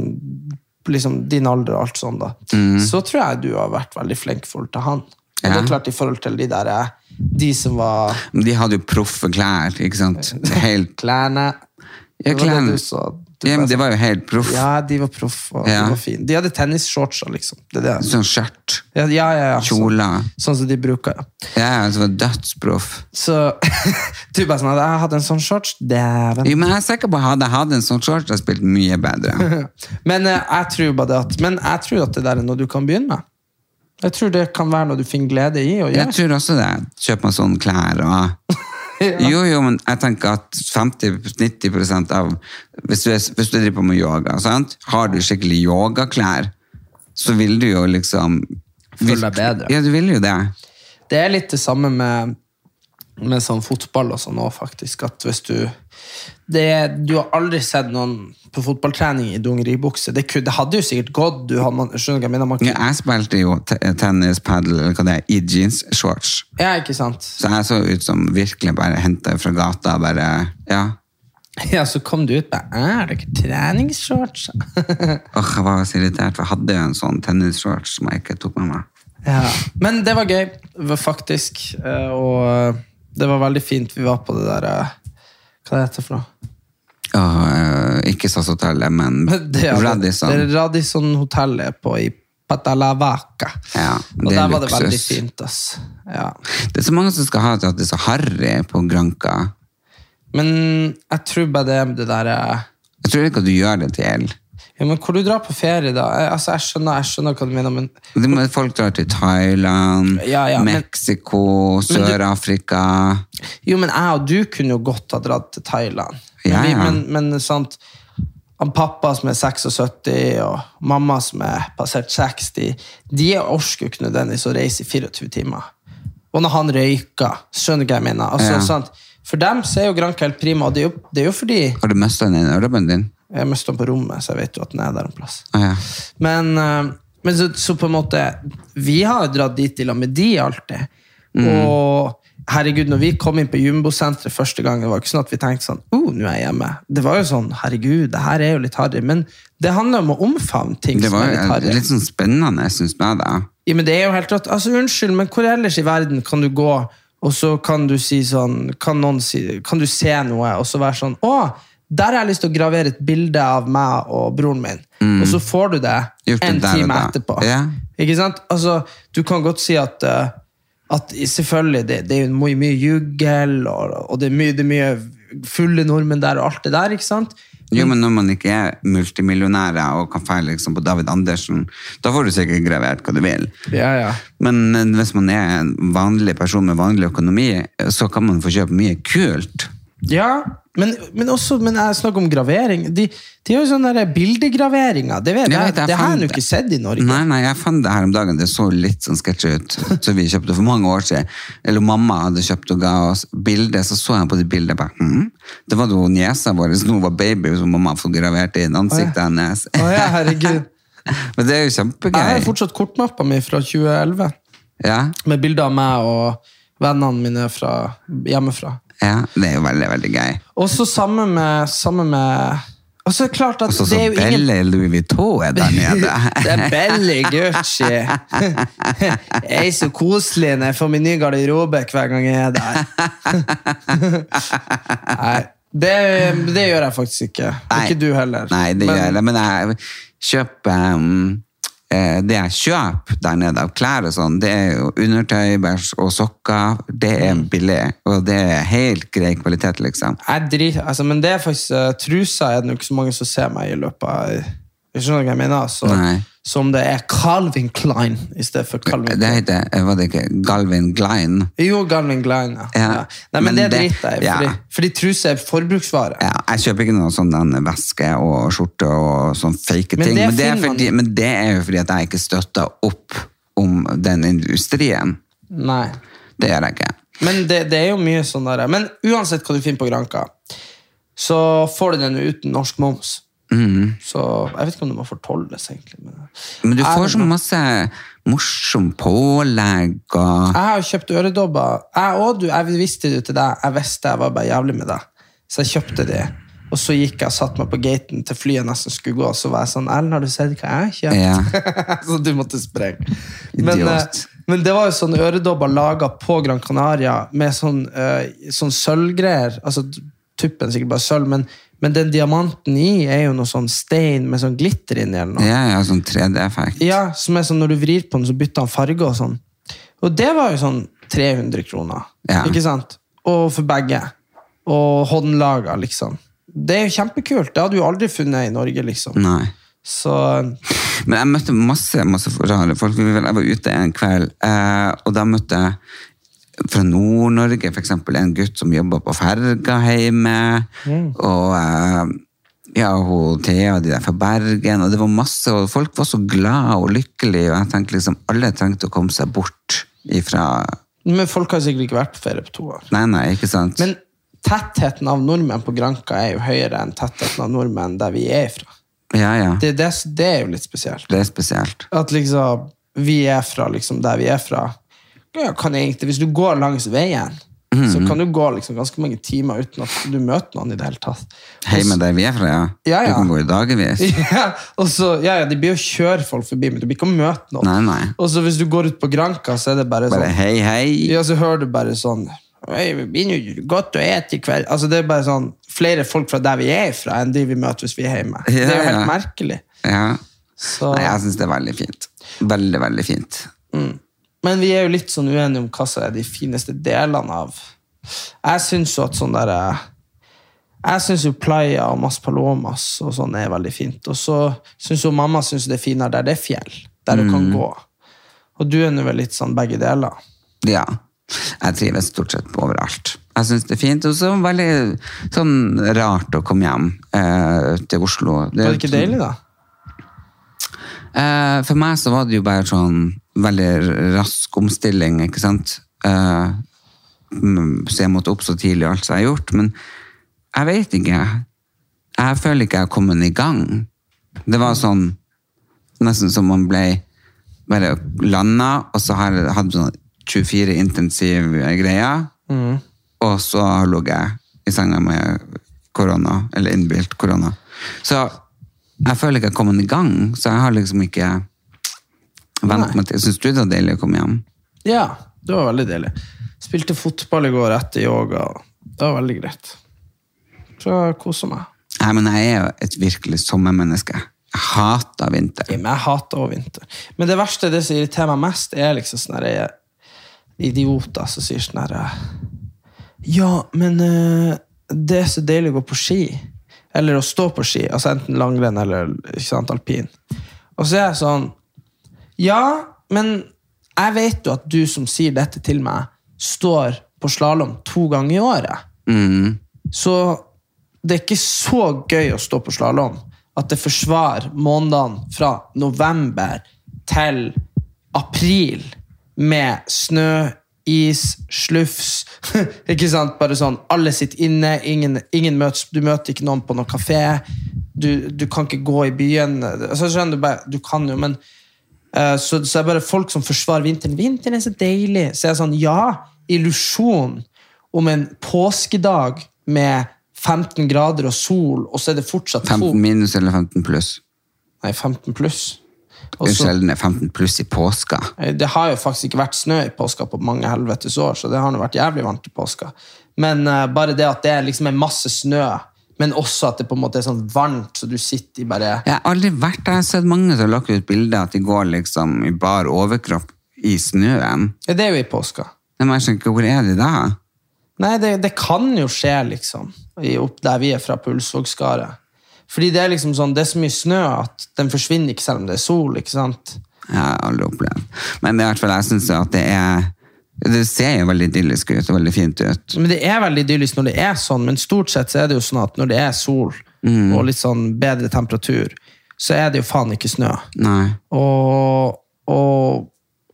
liksom din alder og alt sånn, da,
Mm.
så tror jeg du har vært veldig flink i forhold til han. Og det
Ja.
er klart i forhold til de der eh, De som var
Men De hadde jo proffe klær, ikke sant? Helt
Klærne.
Ja,
Det var det
klærne.
du sa. Du
ja, men
bare
Det
sa-
var jo helt proff.
Ja, de var proff, og
Ja.
de var fine. De hadde tennisshortser, liksom. Det er det. jeg-
Sånn skjørt.
Ja, ja, ja, ja.
Kjoler.
Sånn, sånn som de bruker, ja.
Ja, altså var dødsproff.
Så du bare sånn at jeg hadde en sånn shorts, dæven.
Jo, men jeg er sikker på at hadde jeg hatt en sånn shorts, hadde jeg spilt mye bedre.
Men eh, jeg tror bare det at Men jeg tror at det der er noe du kan begynne med. Jeg tror det kan være noe du finner glede i å
Jeg
gjøre.
tror også det. Kjøpe meg sånne klær og Jo, jo, men jeg tenker at 50-90 av hvis du, er, hvis du driver på med yoga, sant? har du skikkelig yogaklær, så vil du jo liksom
Føle deg
virke-
bedre.
Ja, du vil jo det.
Det er litt det samme med, med sånn fotball og sånn òg, faktisk. At hvis du det, Du har aldri sett noen på fotballtrening i dungeribukse. Det, kunne- det hadde jo sikkert gått. Du har, man, skjønner du hva jeg mener? Man,
Ja, Jeg spilte jo te- tennis, padel eller hva det er, i jeans-shorts.
ja, ikke sant?
Så jeg så ut som virkelig bare henta fra gata. bare, ja.
Ja, så kom du ut med Er det ikke treningsshorts?
Åh, Jeg var så irritert, for jeg hadde jo en sånn tennis-shorts som jeg ikke tok med meg.
ja. Men det var gøy, det var faktisk. eh, Og eh, det var veldig fint. Vi var på det der eh, Hva det heter for noe?
Åh, eh, ikke SAS Hotellet, men
Det er- altså- Det
Radisson.
er Radisson-hotellet på i Patalavaca.
Ja,
og
det
der
er
var det
luksus.
veldig fint, ass. Ja.
Det er så mange som skal ha til at det er så harry på Granka.
Men jeg tror bare det er det der eh,
Jeg tror ikke at du gjør det til.
ja, men Hvor du drar på ferie, da? Jeg, altså, jeg, skjønner, jeg skjønner hva du mener, men
Det må, folk drar til Thailand,
Ja, ja, men-
Mexico,
Men du-
Sør-Afrika.
Jo, men jeg og du kunne jo godt ha dratt til Thailand. Men,
Ja,
vi,
ja.
men, men sant han Pappa som er 76, og mamma som er passert 60, de orker jo ikke nødvendigvis å reise i 24 timer. Og når han røyker, skjønner du hva jeg mener? Altså,
Ja.
sant? For dem så er jo Granca helt prima, og det er jo, det er jo fordi
Har du mista den ene ørebunnen din?
Jeg mistet den på rommet, så jeg vet jo at den er der en plass.
Å, ja.
Men, eh, men så, så på en måte Vi har jo dratt dit i lag med de alltid.
Mm.
Og herregud, når vi kom inn på Jumbo-senteret første gang, det var ikke sånn at vi tenkte sånn oh, nå er jeg hjemme. Det var jo sånn herregud, det her er jo litt harry. Men det handler om å omfavne ting
Det
som
var
er litt
jo
harry.
litt sånn spennende, syns jeg. da.
Ja, men det er jo helt rått. Altså, unnskyld, men hvor ellers i verden kan du gå, og så kan du si sånn Kan, noen si, kan du se noe, og så være sånn Å, der har jeg lyst til å gravere et bilde av meg og broren min. Og så får du det
Mm. Gjort det
en
der og
time
da.
etterpå.
Ja.
Ikke sant? Altså, du kan godt si at eh, at i- selvfølgelig, det, det er jo mye, mye juggel, og, og det, er mye, det er mye fulle nordmenn der, og alt det der, ikke sant?
Jo, men når man ikke er multimillionærer og kan feile liksom på David Andersen, da får du sikkert gravert hva du vil.
Ja, ja.
Men eh, hvis man er en vanlig person med vanlig økonomi, eh, så kan man få kjøpe mye kult.
Ja, men, men også men jeg snakker om gravering. De, de har jo sånne der bildegraveringer. Det, vet
Jeg
jeg,
vet, jeg
det har jeg
fant
jo ikke sett i Norge.
Nei, nei, jeg fant det her om dagen. Det så litt sånn sketsjy ut. Så vi kjøpte for mange år siden. Eller mamma hadde kjøpt og ga oss bilder, så så jeg på det bildet. Bare, «Hm, Det var da niesa vår nå var baby, som mamma fotograferte inn ansiktet hennes.
Å ja, herregud.
Men det er jo kjempegøy.
Jeg har jo fortsatt kortmappa mi fra 2011
Ja,
med bilder av meg og vennene mine fra, hjemmefra.
ja, det er jo veldig, veldig gøy.
Og så sammen med, sammen med Og så er det klart at
Og så
det
så
er jo ingen
Belle Louis Vuitton er der
Det
nede.
er Belly Gucci. Jeg er så koselig når jeg får min nye garderobe hver gang jeg er der. Nei, det, det gjør jeg faktisk ikke.
Nei.
Ikke du heller.
Nei, det gjør jeg. Men jeg kjøper um, eh, Det jeg kjøper der nede av klær og sånn, det er jo undertøy, bæsj og sokker. Det er
Mm.
billig, og det er helt grei kvalitet, liksom.
Jeg drit, altså, men det er faktisk eh, trusa er det nok ikke så mange som ser meg i løpet av Jeg skjønner hva jeg mener. Så,
Nei.
som det er Calvin Klein i stedet for Calvin
Det
Klein.
heter eh, Var det ikke Galvin Glein?
Jo, Calvin Klein, ja.
Ja,
ja. Nei, men,
men
det
det-
driter jeg i,
ja.
fordi, fordi truse er forbruksvare.
Ja, jeg kjøper ikke noe sånn den veske og skjorte og sånn fake
Men
ting.
det
Men det, er
finner man
fordi,
jo.
men det er jo fordi at jeg ikke støtter opp om den industrien.
Nei.
Det gjør jeg ikke.
Men det, det er jo mye sånn der. Men uansett hva du finner på Granka, så får du den jo uten norsk moms. Så jeg vet ikke om det må fortolles, egentlig. Men
Men du
Jeg
får
vet
så
ikke.
masse morsom pålegg og
Jeg har jo kjøpt øredobber. Jeg og du, jeg visste det jo til deg. Jeg visste jeg var bare jævlig med deg. Så jeg kjøpte de. Og så gikk jeg og satte meg på gaten til flyet nesten skulle gå. Så var jeg sånn Ellen, har du sett hva jeg har kjøpt? så du måtte sprenge. Men, eh,
Idiot.
men det var jo sånn øredobber laga på Gran Canaria med sånn, eh, sånn sølvgreier. Altså tuppen er sikkert bare sølv, men, men den diamanten i er jo noe sånn stein med sånn glitter inni eller noe.
Ja, ja, sånn 3D-effekt.
Ja, som er sånn når du vrir på den, så bytter han farge og sånn. Og det var jo sånn 300 kroner.
Ja.
Ikke sant? Og for begge. Og håndlaga, liksom. Det er jo kjempekult. Det hadde du jo aldri funnet i Norge, liksom.
Nei.
Så
Men jeg møtte masse, masse rare folk. Jeg var ute en kveld, eh, og da møtte jeg fra Nord-Norge for eksempel en gutt som jobber på ferga hjemme,
Mm.
og eh, ja, hun Thea og de der fra Bergen, og det var masse, og folk var så glad og lykkelige, og jeg tenkte liksom, alle trengte å komme seg bort ifra...
Men folk har sikkert ikke vært på ferie på to år.
Nei, nei, ikke sant?
Men tettheten av nordmenn på Granka er jo høyere enn tettheten av nordmenn der vi er fra.
ja, ja, det,
Det, det, det er jo litt spesielt.
er spesielt.
At liksom, vi er fra liksom, der vi er fra. Ja, Kan egentlig, hvis du går langs veien, så
Mhm.
kan du gå liksom, ganske mange timer uten at du møter noen i det hele tatt. Og
Hei
så-
med der vi er fra, ja.
Ja, ja.
Du kan gå i dagevis.
Ja, og så, ja, ja, De blir jo kjøre folk forbi, men du blir ikke å møte noen.
Nei, nei.
Og så hvis du går ut på Granka, så er det bare,
Bare
sånn
hei, hei.
Ja, så hører du bare sånn Oi, det blir nå godt å ete i kveld. Altså, det er bare sånn, Flere folk fra der vi er fra, enn de vi møter hvis vi er hjemme.
Ja,
det er jo helt
ja.
merkelig.
ja.
Så-
Nei, jeg syns det er veldig fint. Veldig, veldig fint.
Men vi er jo litt sånn uenige om hva som er de fineste delene av Jeg syns jo at sånn der eh, Jeg syns jo Playa og Mas Palomas og sånn er veldig fint. Og så syns jo mamma synes det er finere der det er fjell, der du kan gå. Og du er nå vel litt sånn begge deler.
Ja. Jeg trives stort sett på overalt. Jeg syns det er fint, og så veldig sånn rart å komme hjem eh, til Oslo.
Var det ikke deilig, da?
Eh, for meg så var det jo bare sånn veldig rask omstilling, ikke sant. Eh, mm, så jeg måtte opp så tidlig og alt som jeg har gjort. Men jeg vet ikke. Jeg føler ikke jeg har kommet i gang. Det var sånn nesten som man ble bare landa, og så har jeg hatt sånn 24 intensive greier.
Mm.
Og så lå jeg i senga med korona, eller innbilt korona. Så jeg føler ikke jeg har kommet i gang, så jeg har liksom ikke vent meg til. Syns du det var deilig å komme hjem?
Ja, det var veldig deilig. Spilte fotball i går etter yoga. Det var veldig greit. Så jeg koser meg.
Nei, men jeg er jo et virkelig sommermenneske. Jeg hater vinter.
Men jeg hater også vinter. Men det verste, det som irriterer meg mest, er liksom sånne her idioter som sier sånn her Ja, men eh, det er så deilig å gå på ski. Eller å stå på ski. Altså enten langrenn eller ikke sant, alpin. Og så er jeg sånn ja, men jeg vet jo at du som sier dette til meg, står på slalåm to ganger i året. Så det er ikke så gøy å stå på slalåm at det forsvarer månedene fra november til april med snø, is, slufs. ikke sant? Bare sånn, alle sitter inne, ingen, ingen møtes, du møter ikke noen på noen kafé. Du, du kan ikke gå i byen. Altså, skjønner du, bare, du kan jo, men Eh, Så, så er det bare folk som forsvarer vinteren. Vinteren er så deilig. Så jeg er sånn, ja, illusjon om en påskedag med 15 grader og sol, og så er det fortsatt
15
to-
minus eller 15 pluss?
Nei, 15 pluss. Og så-
Unnskyld, det er 15 pluss i påska.
Eh, Det har jo faktisk ikke vært snø i påska på mange helvetes år, så det har nå vært jævlig varmt i påska. Men eh, bare det at det er liksom er masse snø, men også at det på en måte er sånn varmt, så du sitter i bare
Jeg har aldri vært der. Jeg har sett mange som har lagt ut bilder at de går liksom i bar overkropp i snøen.
Ja, det er jo i påska.
Nei, Men jeg skjønner ikke, hvor er de da?
Nei, det, det kan jo skje, liksom, i- opp der vi er fra Pulsvågskaret. Fordi det er liksom sånn, det er så mye snø at den forsvinner ikke selv om det er sol. ikke sant?
Jeg har aldri opplevd. Men det er i hvert fall, jeg syns at det er Det ser jo veldig idyllisk ut og veldig fint ut.
Men det er veldig idyllisk når det er sånn, men stort sett så er det jo sånn at når det er sol og litt sånn bedre temperatur, så er det jo faen ikke snø.
Nei.
Og, og,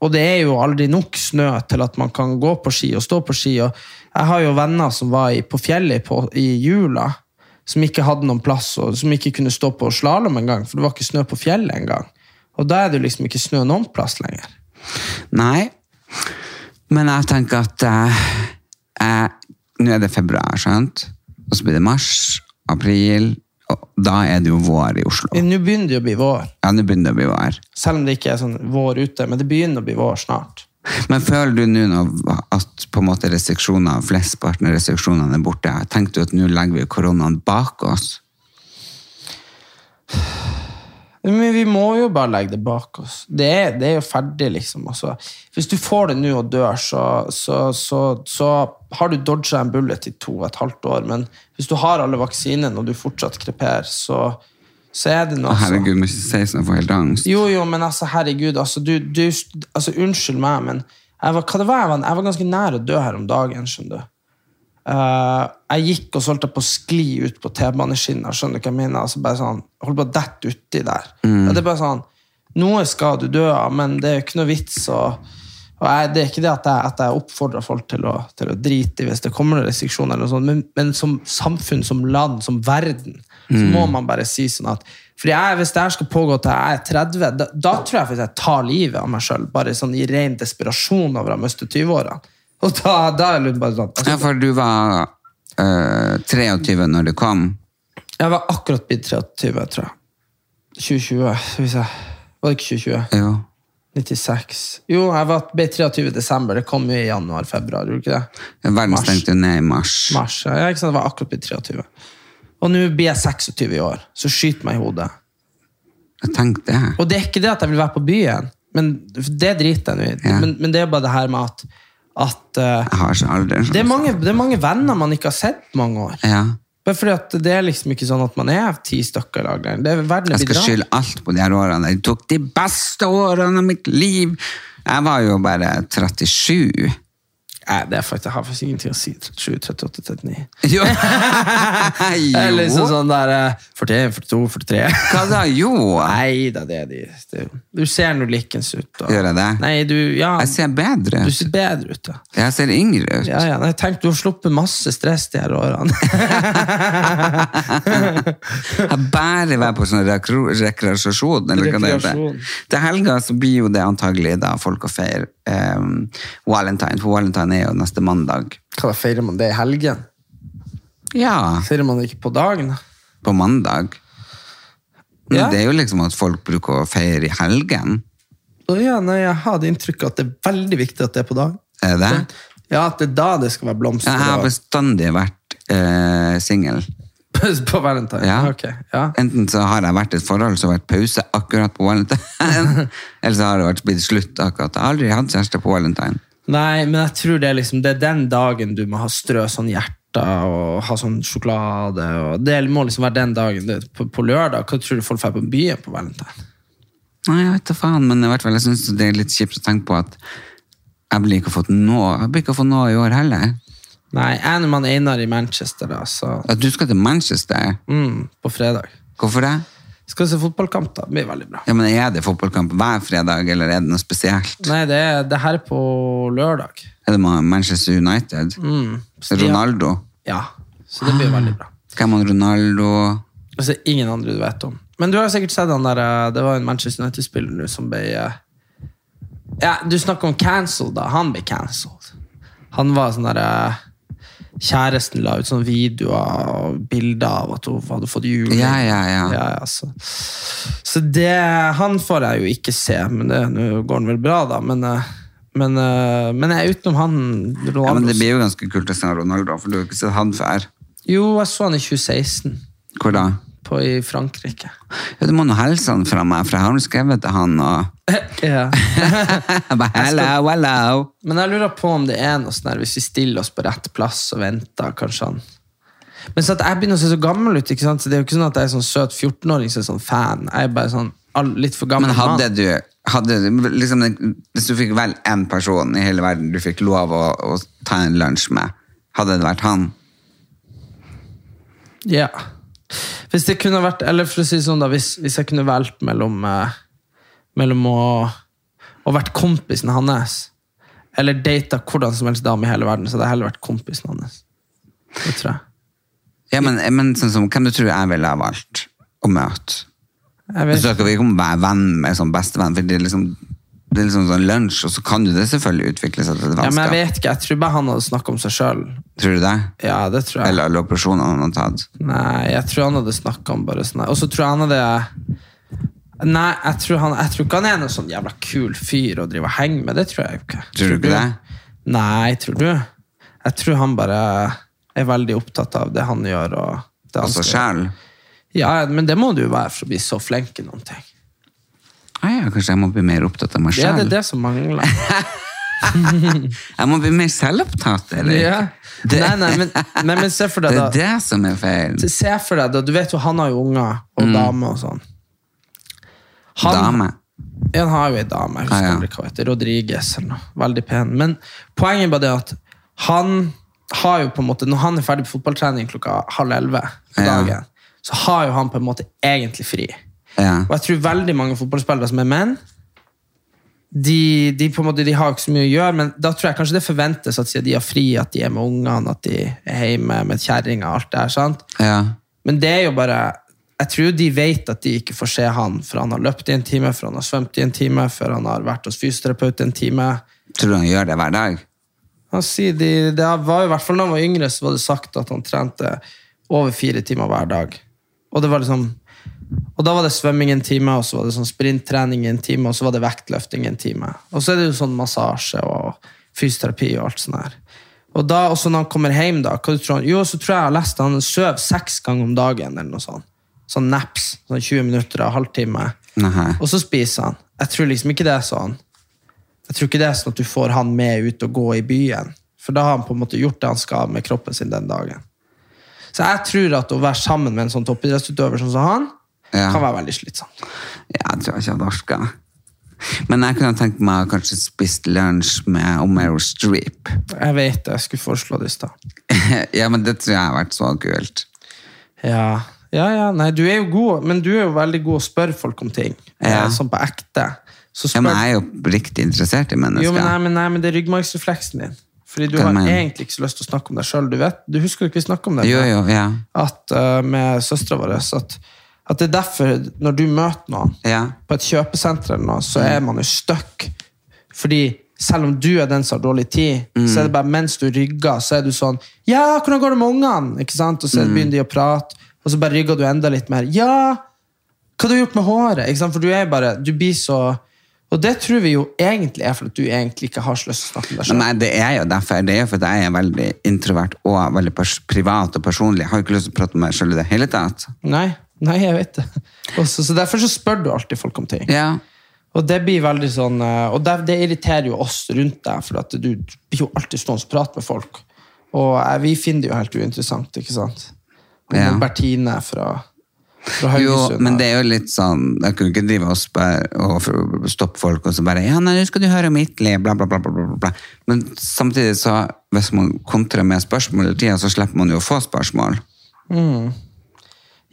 og det er jo aldri nok snø til at man kan gå på ski og stå på ski. Og jeg har jo venner som var i, på fjellet på, i jula, som ikke hadde noen plass, og som ikke kunne stå på slalåm engang, for det var ikke snø på fjellet engang. Og da er det jo liksom ikke snø noen plass lenger.
Nei. Men jeg tenker at eh, jeg, Nå er det februar, skjønt? Og så blir det mars, april, og da er det jo vår i Oslo.
Nå begynner det å bli vår,
Ja, nå begynner det å bli vår.
selv om det ikke er sånn vår ute, men det begynner å bli vår snart.
Men føler du nå nå at på en måte restriksjoner, flestparten av restriksjonene er borte? Tenker du at nå legger vi koronaen bak oss?
Men vi må jo bare legge det bak oss. Det er, det er jo ferdig, liksom. Altså, hvis du får det nå og dør, så, så, så, så har du dodga en bullet i to og et halvt år. Men hvis du har alle vaksinene og du fortsatt kreper, så, så er det noe altså.
Å, herregud, må ikke si sånn, jeg får helt angst.
Jo, jo, men altså, herregud, altså, du, du altså, Unnskyld meg, men jeg var, hva det var, jeg, var, jeg var ganske nær å dø her om dagen, skjønner du. Eh, jeg gikk og så holdt jeg på å skli ut på T-baneskinna, skjønner du hva jeg mener? Altså, bare sånn, holdt på å dette uti der. Ja, det er bare sånn, noe skal du dø av, men det er jo ikke noe vits å og jeg, det er ikke det at jeg, at jeg oppfordrer folk til å, til å drite i hvis det kommer noen restriksjoner, eller noe sånt, men, men som samfunn, som land, som verden, så må man bare si sånn at fordi jeg, Hvis det her skal pågå til jeg er 30, da, da tror jeg faktisk jeg tar livet av meg sjøl. Bare sånn i ren desperasjon over å miste 20-åra. Og da, da er det bare sånn altså,
Ja, for du var eh, 23 når du kom.
Jeg var akkurat blitt 23, tror jeg. 2020, hvis jeg Var det ikke 2020?
Jo.
96. Jo, jeg var, ble 23 i desember. Det kom jo i januar-februar, gjorde ikke det?
Verden
Mars.
stengte jo ned i mars.
Mars. ja. Ja, ikke sant? Jeg var akkurat blitt 23. Og nå blir jeg 26 i år, så skyt meg i hodet.
Jeg tenkte det.
Og det er ikke det at jeg vil være på byen, men det driter jeg nå i.
Ja.
Men, men det er bare det her med at, at eh,
Jeg har ikke alder.
det, er mange, det er mange venner man ikke har sett på mange år.
Ja.
Bare fordi at det er liksom ikke sånn at man er ti stykker i lag lenger. Det er- Verden
Jeg
blir
skal
rar.
skylde alt på de her årene. Jeg tok de beste årene av mitt liv. Jeg var jo bare 37.
Nei, det er faktisk, jeg har faktisk ingenting å si. 37, 38, 39.
Jo.
Det er liksom
jo.
sånn der eh, 41, 42, 43.
Hva da? Jo.
Nei da, det er de. Det, du ser nå likens ut. og-
Gjør jeg det?
Nei, du, ja,
Jeg ser bedre
du
ut.
ser bedre ut, ja.
Jeg ser yngre ut.
Ja, ja, nei, tenk, du har sluppet masse stress de her årene.
Jeg bare være på sånn rekro- rekreasjon, eller hva det
Rekreasjon.
heter. Til helga så blir jo det antagelig da folk å feire em, valentine, for valentine er jo neste mandag.
Hva da, feirer man det i helgen?
Ja,
Feirer man det ikke på dagen?
på mandag. Men
Ja.
det er jo liksom at folk bruker å feire i helgen.
Å ja, nei, jeg har det inntrykket at det er veldig viktig at det er på dagen.
Er det?
Ja, at det er da det skal være
Ja,
blomster
Jeg har
og-
bestandig vært eh, singel.
på valentine.
Ja.
Ok, ja.
Enten så har jeg vært i et forhold som har vært pause akkurat på valentine, eller så har det vært blitt slutt akkurat. Jeg har aldri hatt kjæreste på valentine.
Nei, men jeg tror det er liksom Det er den dagen du må ha strø sånn hjerter og ha sånn sjokolade. Og det må liksom være den dagen. Det, på, på lørdag, hva tror du folk drar på byen på valentine?
Nei, jeg vet da faen, men i hvert fall, jeg synes det er litt kjipt å tenke på at jeg blir ikke fått nå, jeg blir ikke fått nå i år heller.
Nei, jeg er man Einar i Manchester, da, så
At du skal til Manchester,
mm, På fredag.
hvorfor det?
Skal se fotballkamp, da. Det blir veldig bra.
Ja, men er det fotballkamp hver fredag, eller er det noe spesielt?
Nei, det, er- det her er på lørdag.
Er det Ma- Manchester United? Ronaldo?
Ja, så det blir veldig bra.
Hvem er Ronaldo?
Altså, ingen andre du vet om. Men du har sikkert sett han der eh, Det var en Manchester United-spiller nå som ble eh, Ja, du snakker om cancel, da. Han ble cancelled. Han var sånn der eh, Kjæresten la ut sånne videoer og bilder av at hun hadde fått juling.
Ja, ja, ja.
Ja, ja, så. så det Han får jeg jo ikke se, men det, nå går han vel bra, da. Men, eh, men, eh, men jeg- utenom han
Ja, men
Ronaldo
det blir jo ganske kult å se Ronaldo, for du har ikke sett han før.
Jo, jeg så han i 2016
Hvor da?
på, i Frankrike.
Ja, du må nå helse han fra meg, for jeg har jo skrevet til han, og...
Ja.
Jeg bare, hello, hello!
Men jeg lurer på om det er noe sånn her, hvis vi stiller oss på rett plass og venter, kanskje han Men så at jeg begynner å se så gammel ut, ikke sant? så det er jo ikke sånn at jeg er sånn søt 14-åring som er sånn fan. Jeg er bare sånn all, litt for gammel
Men hadde
mann.
du hadde, liksom, Hvis du fikk vel én person i hele verden du fikk lov å, å ta en lunsj med, hadde det vært han?
Ja. Hvis det kunne vært Eller for å si det sånn, da. Hvis, hvis jeg kunne valgt mellom eh, Mellom å Å vært kompisen hans eller data hvordan som helst dame i hele verden, så hadde jeg heller vært kompisen hans. Det tror jeg.
Ja, men, men sånn som, Hvem du tror jeg ville ha valgt å møte?
jeg
Du
vet.
snakker ikke om å være venn med sånn bestevenn, for det er liksom, det er liksom sånn lunsj, og så kan jo det selvfølgelig utvikle seg til et
Ja, men jeg
vennskap.
vet ikke. Jeg tror bare han hadde snakket om seg sjøl.
tror du det?
Ja, det tror jeg.
Eller alle operasjonene han har tatt?
Nei, jeg tror han hadde snakket om bare sånn her. Og så tror jeg han hadde Nei, jeg tror, han, jeg tror ikke han er noen sånn jævla kul fyr å drive og henge med. Det tror jeg jo ikke.
Tror du ikke det?
Nei, tror du? Jeg tror han bare er veldig opptatt av det han gjør. Og det han
Altså
skal gjøre.
sjæl?
Ja, men det må du jo være for å bli så flink i noen ting.
Ah, ja, kanskje jeg må bli mer opptatt av meg
Det er
sjæl?
det, det som mangler.
Jeg må bli mer selvopptatt, eller?
Ja.
Det-
Nei, nei, men, nei, men se for
Det
deg, da.
er det Mm. som er feil.
Se- Se for deg, da. Du vet jo han har jo unger og dame og sånn.
Dame.
Ja, Han har jo ei dame, jeg husker
Ah, ja.
aldri hva hun heter. Rodriguez eller noe. Veldig pen. Men poenget er bare det at han har jo på en måte, når han er ferdig på fotballtrening klokka halv elleve på
Ah, Ja.
dagen, så har jo han på en måte egentlig fri.
Ja.
Og jeg tror veldig mange fotballspillere som er menn, de, de på en måte, de har ikke så mye å gjøre, men da tror jeg kanskje det forventes at siden de har fri, at de er med ungene, at de er hjemme med kjerringa og alt det her. sant?
ja.
Men det er jo bare Jeg tror de vet at de ikke får se han før han har løpt i en time, før han har svømt i en time, før han har vært hos fysioterapeut i en time.
Tror du han gjør det hver dag?
Han sier de, det var jo i hvert fall da han var yngre, så var det sagt at han trente over fire timer hver dag. Og det var liksom og da var det svømming en time, og så var det sånn sprinttrening en time, og så var det vektløfting en time. Og så er det jo sånn massasje og fysioterapi og alt sånt her. Og da, også når han kommer hjem, da, hva du tror han? Jo, så tror jeg jeg har lest han sover seks ganger om dagen, eller noe sånt. Sånn naps, sånn 20 minutter og halvtime.
Nei.
Og så spiser han. Jeg tror liksom ikke det er sånn. Jeg tror ikke det er sånn at du får han med ut og gå i byen. For da har han på en måte gjort det han skal med kroppen sin den dagen. Så jeg tror at å være sammen med en sånn toppidrettsutøver sånn som han,
Ja.
kan være veldig slitsomt.
Ja, jeg tror ikke han orker. Men jeg kunne tenkt meg å kanskje spist lunsj med Omero Streep.
Jeg vet det, jeg skulle foreslå det i stad.
ja, men det tror jeg har vært så kult.
Ja. ja, ja, nei, du er jo god, men du er jo veldig god å spørre folk om ting.
Ja.
eh, Sånn på ekte. Så
Ja,
spør,
men jeg er jo riktig interessert i mennesker.
jo, men nei, men nei, men det er ryggmargsrefleksen din. Fordi du
Hva
har
mener du?
egentlig ikke så lyst til å snakke om deg sjøl. Du, vet- du husker jo ikke vi snakka om det?
jo, jo, ja.
at, eh, med søstera vår at, at det er derfor, når du møter noen
Ja. Mm.
på et kjøpesenter, eller noe, så er man jo stuck. Fordi selv om du er den som har dårlig tid,
Mm.
så er det bare mens du rygger, så er du sånn Ja, hvordan går det med ungene? Ikke sant? Og så
Mm.
begynner de å prate, og så bare rygger du enda litt mer. Ja, hva du har gjort med håret? Ikke sant? For du er bare Du blir så Og det tror vi jo egentlig er fordi at du egentlig ikke har så lyst til å snakke om deg sjøl.
Nei, det er jo derfor. Det er jo fordi jeg er veldig introvert og veldig pers privat og personlig. Jeg har jo ikke lyst til å prate med meg sjøl i det hele tatt.
Nei, nei, jeg vet det. Og så- så derfor så spør du alltid folk om ting.
Ja.
Og det blir veldig sånn eh, Og det, det irriterer jo oss rundt deg, for at du du blir jo alltid stående og prate med folk. Og eh, vi finner det jo helt uinteressant, ikke sant? Om
Ja.
Bertine fra, fra
Jo,
Haugesund.
men det er jo litt sånn Jeg kunne ikke drive og, spørre, og f- stoppe folk og så bare Ja, nei, nå skal du høre om Hitler, bla, bla, bla, bla, bla, bla. Men samtidig så, hvis man kontrer med spørsmål hele tida, så slipper man jo å få spørsmål.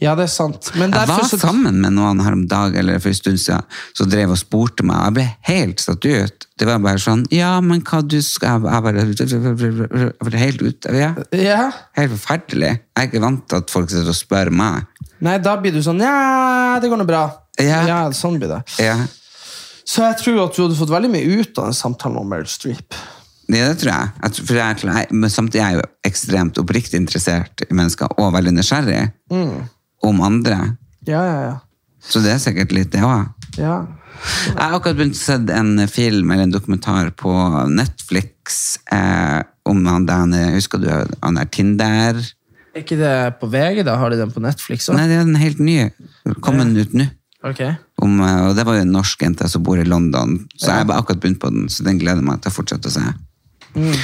Ja, det er sant. Men
Jeg
derfor
var
så
sammen med noen her om dag, eller for en stund siden, som drev og spurte meg. og Jeg ble helt satt ut. Det var bare sånn Ja, men hva du skal Jeg bare jeg ble helt ute. Ja.
ja.
Helt forferdelig. Jeg er ikke vant til at folk sitter og spør meg.
Nei, da blir du sånn Ja, det går nå bra.
Ja.
sånn blir det.
Ja,
Så jeg tror at du hadde fått veldig mye ut av den samtalen om Meryl Streep.
ja det tror jeg. jeg tror- for jeg, er klar- jeg, men samtidig er jeg jo ekstremt oppriktig interessert i mennesker, og veldig nysgjerrig om andre.
Ja, ja, ja.
Så det er sikkert litt det òg.
ja.
Jeg har akkurat begynt å se en film eller en dokumentar på Netflix eh, om han der Husker du han der Tinder?
Er ikke det på VG, da? Har de den på Netflix òg?
Nei, det er en helt ny. Kom den ut nå? Om, eh, og det var jo en norsk jente som bor i London, så jeg har bare akkurat begynt på den, så den gleder jeg meg til å fortsette å se.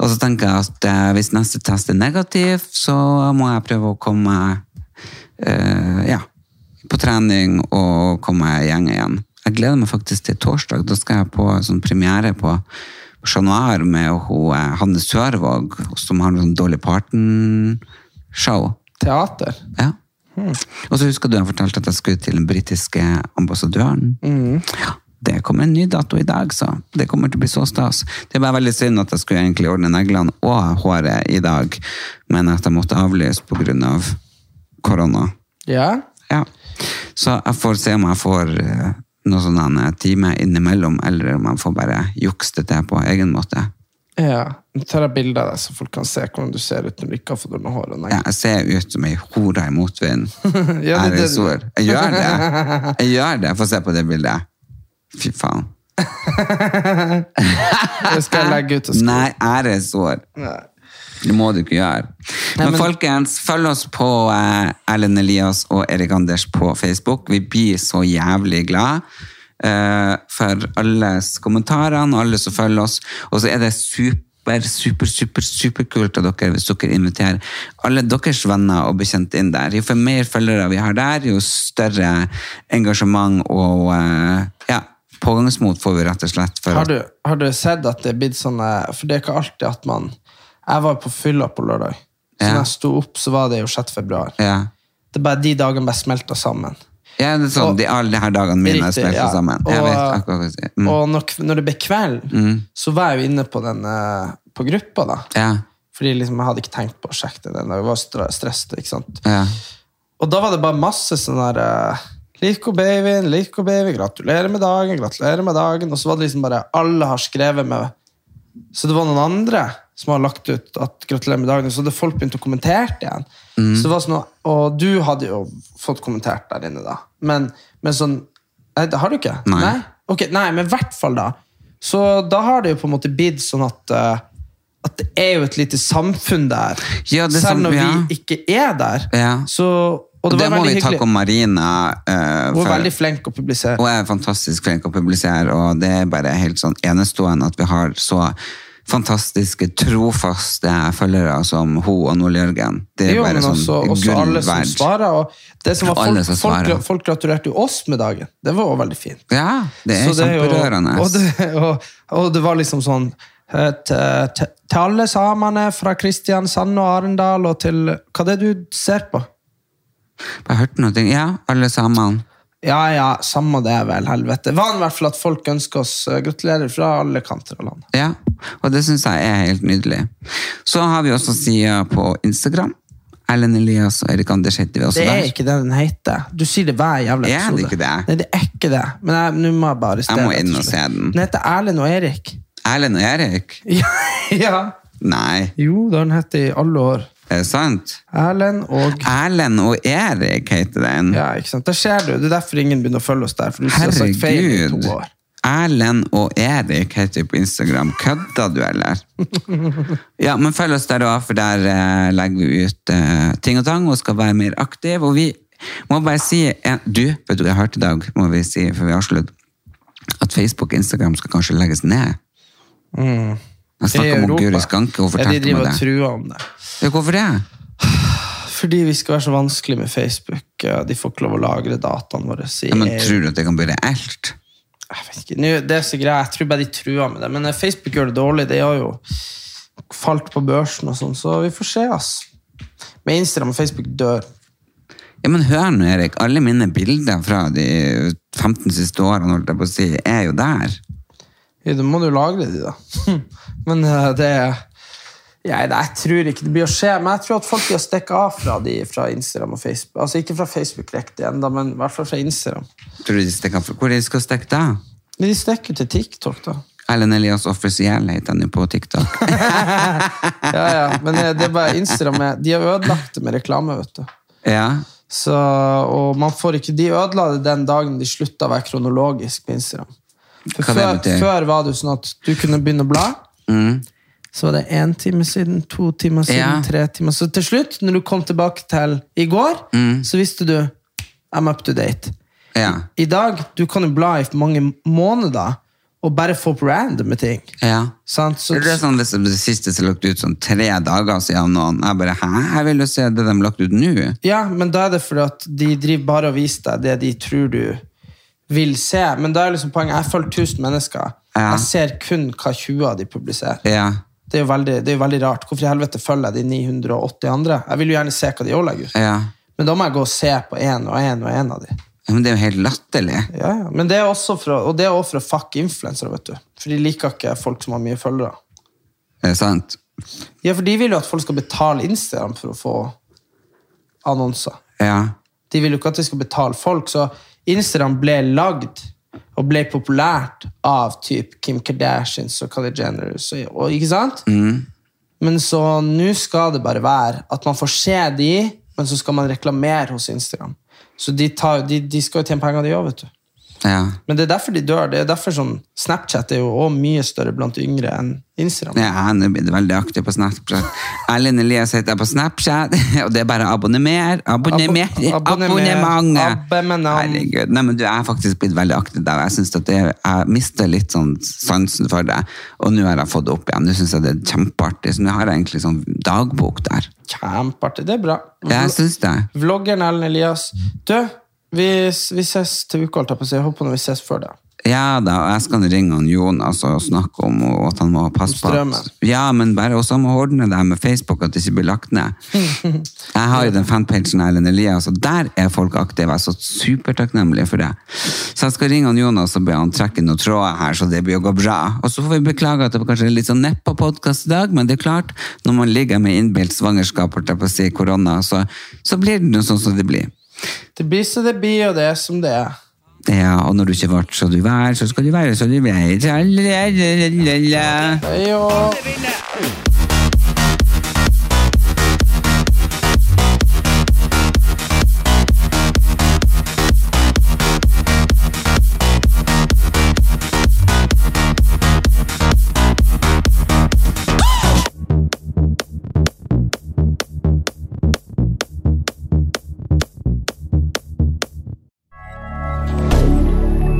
Og så tenker jeg at eh, hvis neste test er negativ, så må jeg prøve å komme eh, ja, på trening og komme i gjeng igjen. Jeg gleder meg faktisk til torsdag. Da skal jeg på sånn premiere på på Chat Noir med hun, eh, Hanne Sørvåg, som har sånn noen Dolly Parton-show.
Teater.
Ja. Og så husker du jeg fortalte at jeg skulle til den britiske ambassadøren. Ja, Det kommer en ny dato i dag, så det kommer til å bli så stas. Det er bare veldig synd at jeg skulle egentlig ordne neglene og håret i dag, men at jeg måtte avlyse pga. Av korona.
Ja.
Ja. Så jeg får se om jeg får eh, noen sånne timer innimellom, eller om jeg får bare jukse det til på egen måte.
ja. Nå tar jeg bilde av deg, så folk kan se hvordan du ser ut når du ikke har fått ordna håret.
Ja, jeg ser ut som ei hore i motvind.
Ja, det er det du-
Æresord. Jeg gjør det. Jeg gjør det. Få se på det bildet. Fy faen.
Det skal jeg legge ut. og skrive.
Nei, æresord. Det må du ikke gjøre. Men, folkens, følg oss på eh, Erlend Elias og Erik Anders på Facebook. Vi blir så jævlig glad eh, for alles kommentarene og alle som følger oss. Og så er det super, super, super, superkult av dere hvis dere inviterer alle deres venner og bekjente inn der. Jo for mer følgere vi har der, jo større engasjement og eh, ja, pågangsmot får vi rett og slett. For
Har
at-
du, har du sett at det er blitt sånn eh, For det er ikke alltid at man Jeg var på fylla på lørdag. Så
Ja.
når jeg sto opp, så var det jo 6. februar.
Ja.
Det er bare de dagene bare smelta sammen.
Ja, det er sånn,
Og-
de, alle de her dagene mine er
Riktig,
spilt
ja.
sammen. Jeg
Og-
vet akkurat hva jeg sier. Mm.
Og når, kv- når det ble kveld, så var jeg jo inne på den eh, på gruppa, da.
Ja,
Fordi liksom, jeg hadde ikke tenkt på å sjekke det den dagen. Jeg var stra- stresset, ikke sant.
ja.
Og da var det bare masse sånn der eh, Lico babyen, Lico baby, gratulerer med dagen, gratulerer med dagen. Og så var det liksom bare alle har skrevet med Så det var noen andre som har lagt ut at gratulerer med dagen. Så hadde folk begynt å kommentere det igjen.
Mm.
Så det var sånn, og du hadde jo fått kommentert der inne, da. Men, men sånn Nei, det har du ikke?
Nei.
Ok, nei, men i hvert fall, da. Så da har det jo på en måte blitt sånn at eh, at det er jo et lite samfunn der.
Ja, det er
Selv
sant,
når
ja.
vi ikke er der.
Ja.
Så, og
Det,
det, var
må vi
veldig
takke
hyggelig.
om Marina eh,
Hun var
for.
veldig flink å publisere.
Hun er fantastisk flink å publisere, og det er bare helt sånn enestående at vi har så fantastiske, trofaste følgere som hun og Nord-Jørgen. Det er
jo,
bare
men
sånn
også, også
gull
alle som
verdt.
svarer. Og det som var
Alle
folk,
som
folk,
svarer.
folk gratulerte jo oss med dagen. Det var også veldig fint.
Ja, det er
Så det er jo-
kjemperørende.
Og, det- og, og det var liksom sånn eh, til- til til alle samene fra Kristiansand og Arendal og til Hva det er du ser på?
Jeg hørte noe, ja, alle sammen.
Ja ja, samme det, vel. Helvete. Det var i hvert fall at folk ønsker oss eh, gratulerer fra alle kanter av landet.
Ja, og det syns jeg er helt nydelig. Så har vi også sida på Instagram. Erlend Elias og Erik Anders heter vi også
Det er
der.
ikke det den heter. Du sier det hver jævla
Er det
episode.
ikke det?
Nei, det er ikke det. Men jeg- nå må jeg bare arrestere
Jeg må
deg til
inn og
slutt.
se den.
Den heter Erlend og Erik.
Erlend og Erik?
Ja, ja.
Nei,
Jo, den heter i alle år.
er det sant?
Erlend og
Erlend og Erik heter den.
Ja, ikke sant? Der ser du. Det er derfor ingen begynner å følge oss der. For du har sagt feil i
Herregud.
to år.
Erlend og Erik heter vi på Instagram. Kødda du, eller? Ja, men følg oss der òg, for der eh, legger vi ut eh, ting og tang og skal være mer aktiv. Og vi må bare si eh, Du, vet du, jeg hørte i dag, må vi si før vi avslutter, at Facebook og Instagram skal kanskje legges ned. Jeg snakka med Guri Skanke, hun
Mm. ja, de
fortalte
driver
meg
og
det.
truer om det.
Ja, hvorfor det?
Fordi vi skal være så vanskelig med Facebook. ja, De får ikke lov å lagre dataene våre. i
Ja, men
EU.
Tror du at det kan bli reelt?
jeg vet ikke, nå, det er så greit, jeg tror bare de truer med det. Men eh, Facebook gjør det dårlig, det har jo falt på børsen og sånn, så vi får se, ass. Men Instagram og Facebook dør.
Ja, men hør nå, Erik. Alle mine bilder fra de 15 siste årene holdt jeg på å si, er jo der.
Ja, Da må du lagre de, da. Men eh, det ja, nei, Jeg tror ikke det blir å skje, men jeg tror at folk blir å stikke av fra de fra Instagram og Facebook. Altså ikke fra Facebook riktig ennå, men i hvert fall fra Instagram.
Tror du de stikker fra? Hvor er de skal stikke da?
Men de stikker jo til TikTok, da.
Ellen Elias offisiell heter han jo på TikTok.
Ja, ja, Men eh, det er bare Instagram er- De har ødelagt det med reklame, vet du.
Ja.
Så, og man får ikke, De ødela det den dagen de slutta å være kronologisk på Instagram. For
Hva det
før,
betyr?
før var det jo sånn at du kunne begynne å bla. Så var det én time siden, to timer siden,
Mm. Ja.
tre timer. Så til slutt, når du kom tilbake til i går,
Mm.
så visste du I'm up to date.
Ja.
I dag du kan jo bla i mange måneder og bare få opp randomme ting.
ja.
Sant? Så,
Det er sånn hvis det siste som lagt ut sånn tre dager siden noen, jeg bare, hæ? Jeg vil jo se det de lagt ut nå.
Ja, men da er det fordi at de driver bare og viser deg det de tror du vil se. Men da er liksom poenget jeg følger 1000 mennesker.
Ja.
Jeg ser kun hva 20 av de publiserer.
Ja.
Det er jo veldig, det er jo veldig rart. Hvorfor i helvete følger jeg de 980 andre? Jeg vil jo gjerne se hva de òg legger ut.
ja.
Men da må jeg gå og se på én og én og én av de.
Ja, Men det er jo helt latterlig.
Ja, ja. Men det er også for å, og det er også for å fuck influensere, vet du. For de liker ikke folk som har mye følgere.
Er det sant?
Ja, for de vil jo at folk skal betale Instagram for å få annonser.
Ja.
De vil jo ikke at vi skal betale folk, så Instagram ble lagd og ble populært av typ Kim Kardashians og Kylie Jenners, og, og, ikke sant?
Mm.
Men så nå skal det bare være at man får se de, men så skal man reklamere hos Instagram. Så de, tar, de, de skal jo tjene penger, de òg, vet du.
Ja.
Men det er derfor de dør. Det er derfor sånn, Snapchat er jo også mye større blant yngre enn Instagram.
Ja, nå blir det veldig aktiv på Snapchat. Erlend Elias heter jeg på Snapchat, og det er bare abonner. Abonner,
Abo- abonner-
abonnement!
abonnement.
Herregud. Nei, men du jeg er faktisk blitt veldig aktiv der, og jeg synes at det, jeg mister litt sånn sansen for det, og nå har jeg fått det opp igjen. Nå synes jeg det er kjempeartig, så nå har jeg egentlig sånn dagbok der.
Kjempeartig. Det er bra.
Ja, jeg synes det.
Vloggeren Ellen Elias. Du, vi, vi ses til uka, holdt jeg på å si. Jeg håper når vi ses før det.
Ja da, og jeg skal ringe han Jonas og snakke om at han må passe på at,
Strømmen.
Ja, men bare også må ordne det her med Facebook, at det ikke blir lagt ned. Jeg har jo den fanpagen Erlend Elias, og der er folk aktive. Jeg er så supertakknemlig for det. Så jeg skal ringe han Jonas og be han trekke noen tråder her, så det blir å gå bra. Og så får vi beklage at det kanskje er litt sånn nepp på podkast i dag, men det er klart, når man ligger med innbilt svangerskap, holdt jeg på å si, korona, så, så blir det noe sånn som det blir.
Det blir så det blir, og det er som det er.
Ja, og når du ikke ble så du vær, så skal du være så du vær. Lalalala.
Hei og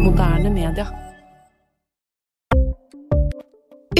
Moderne media.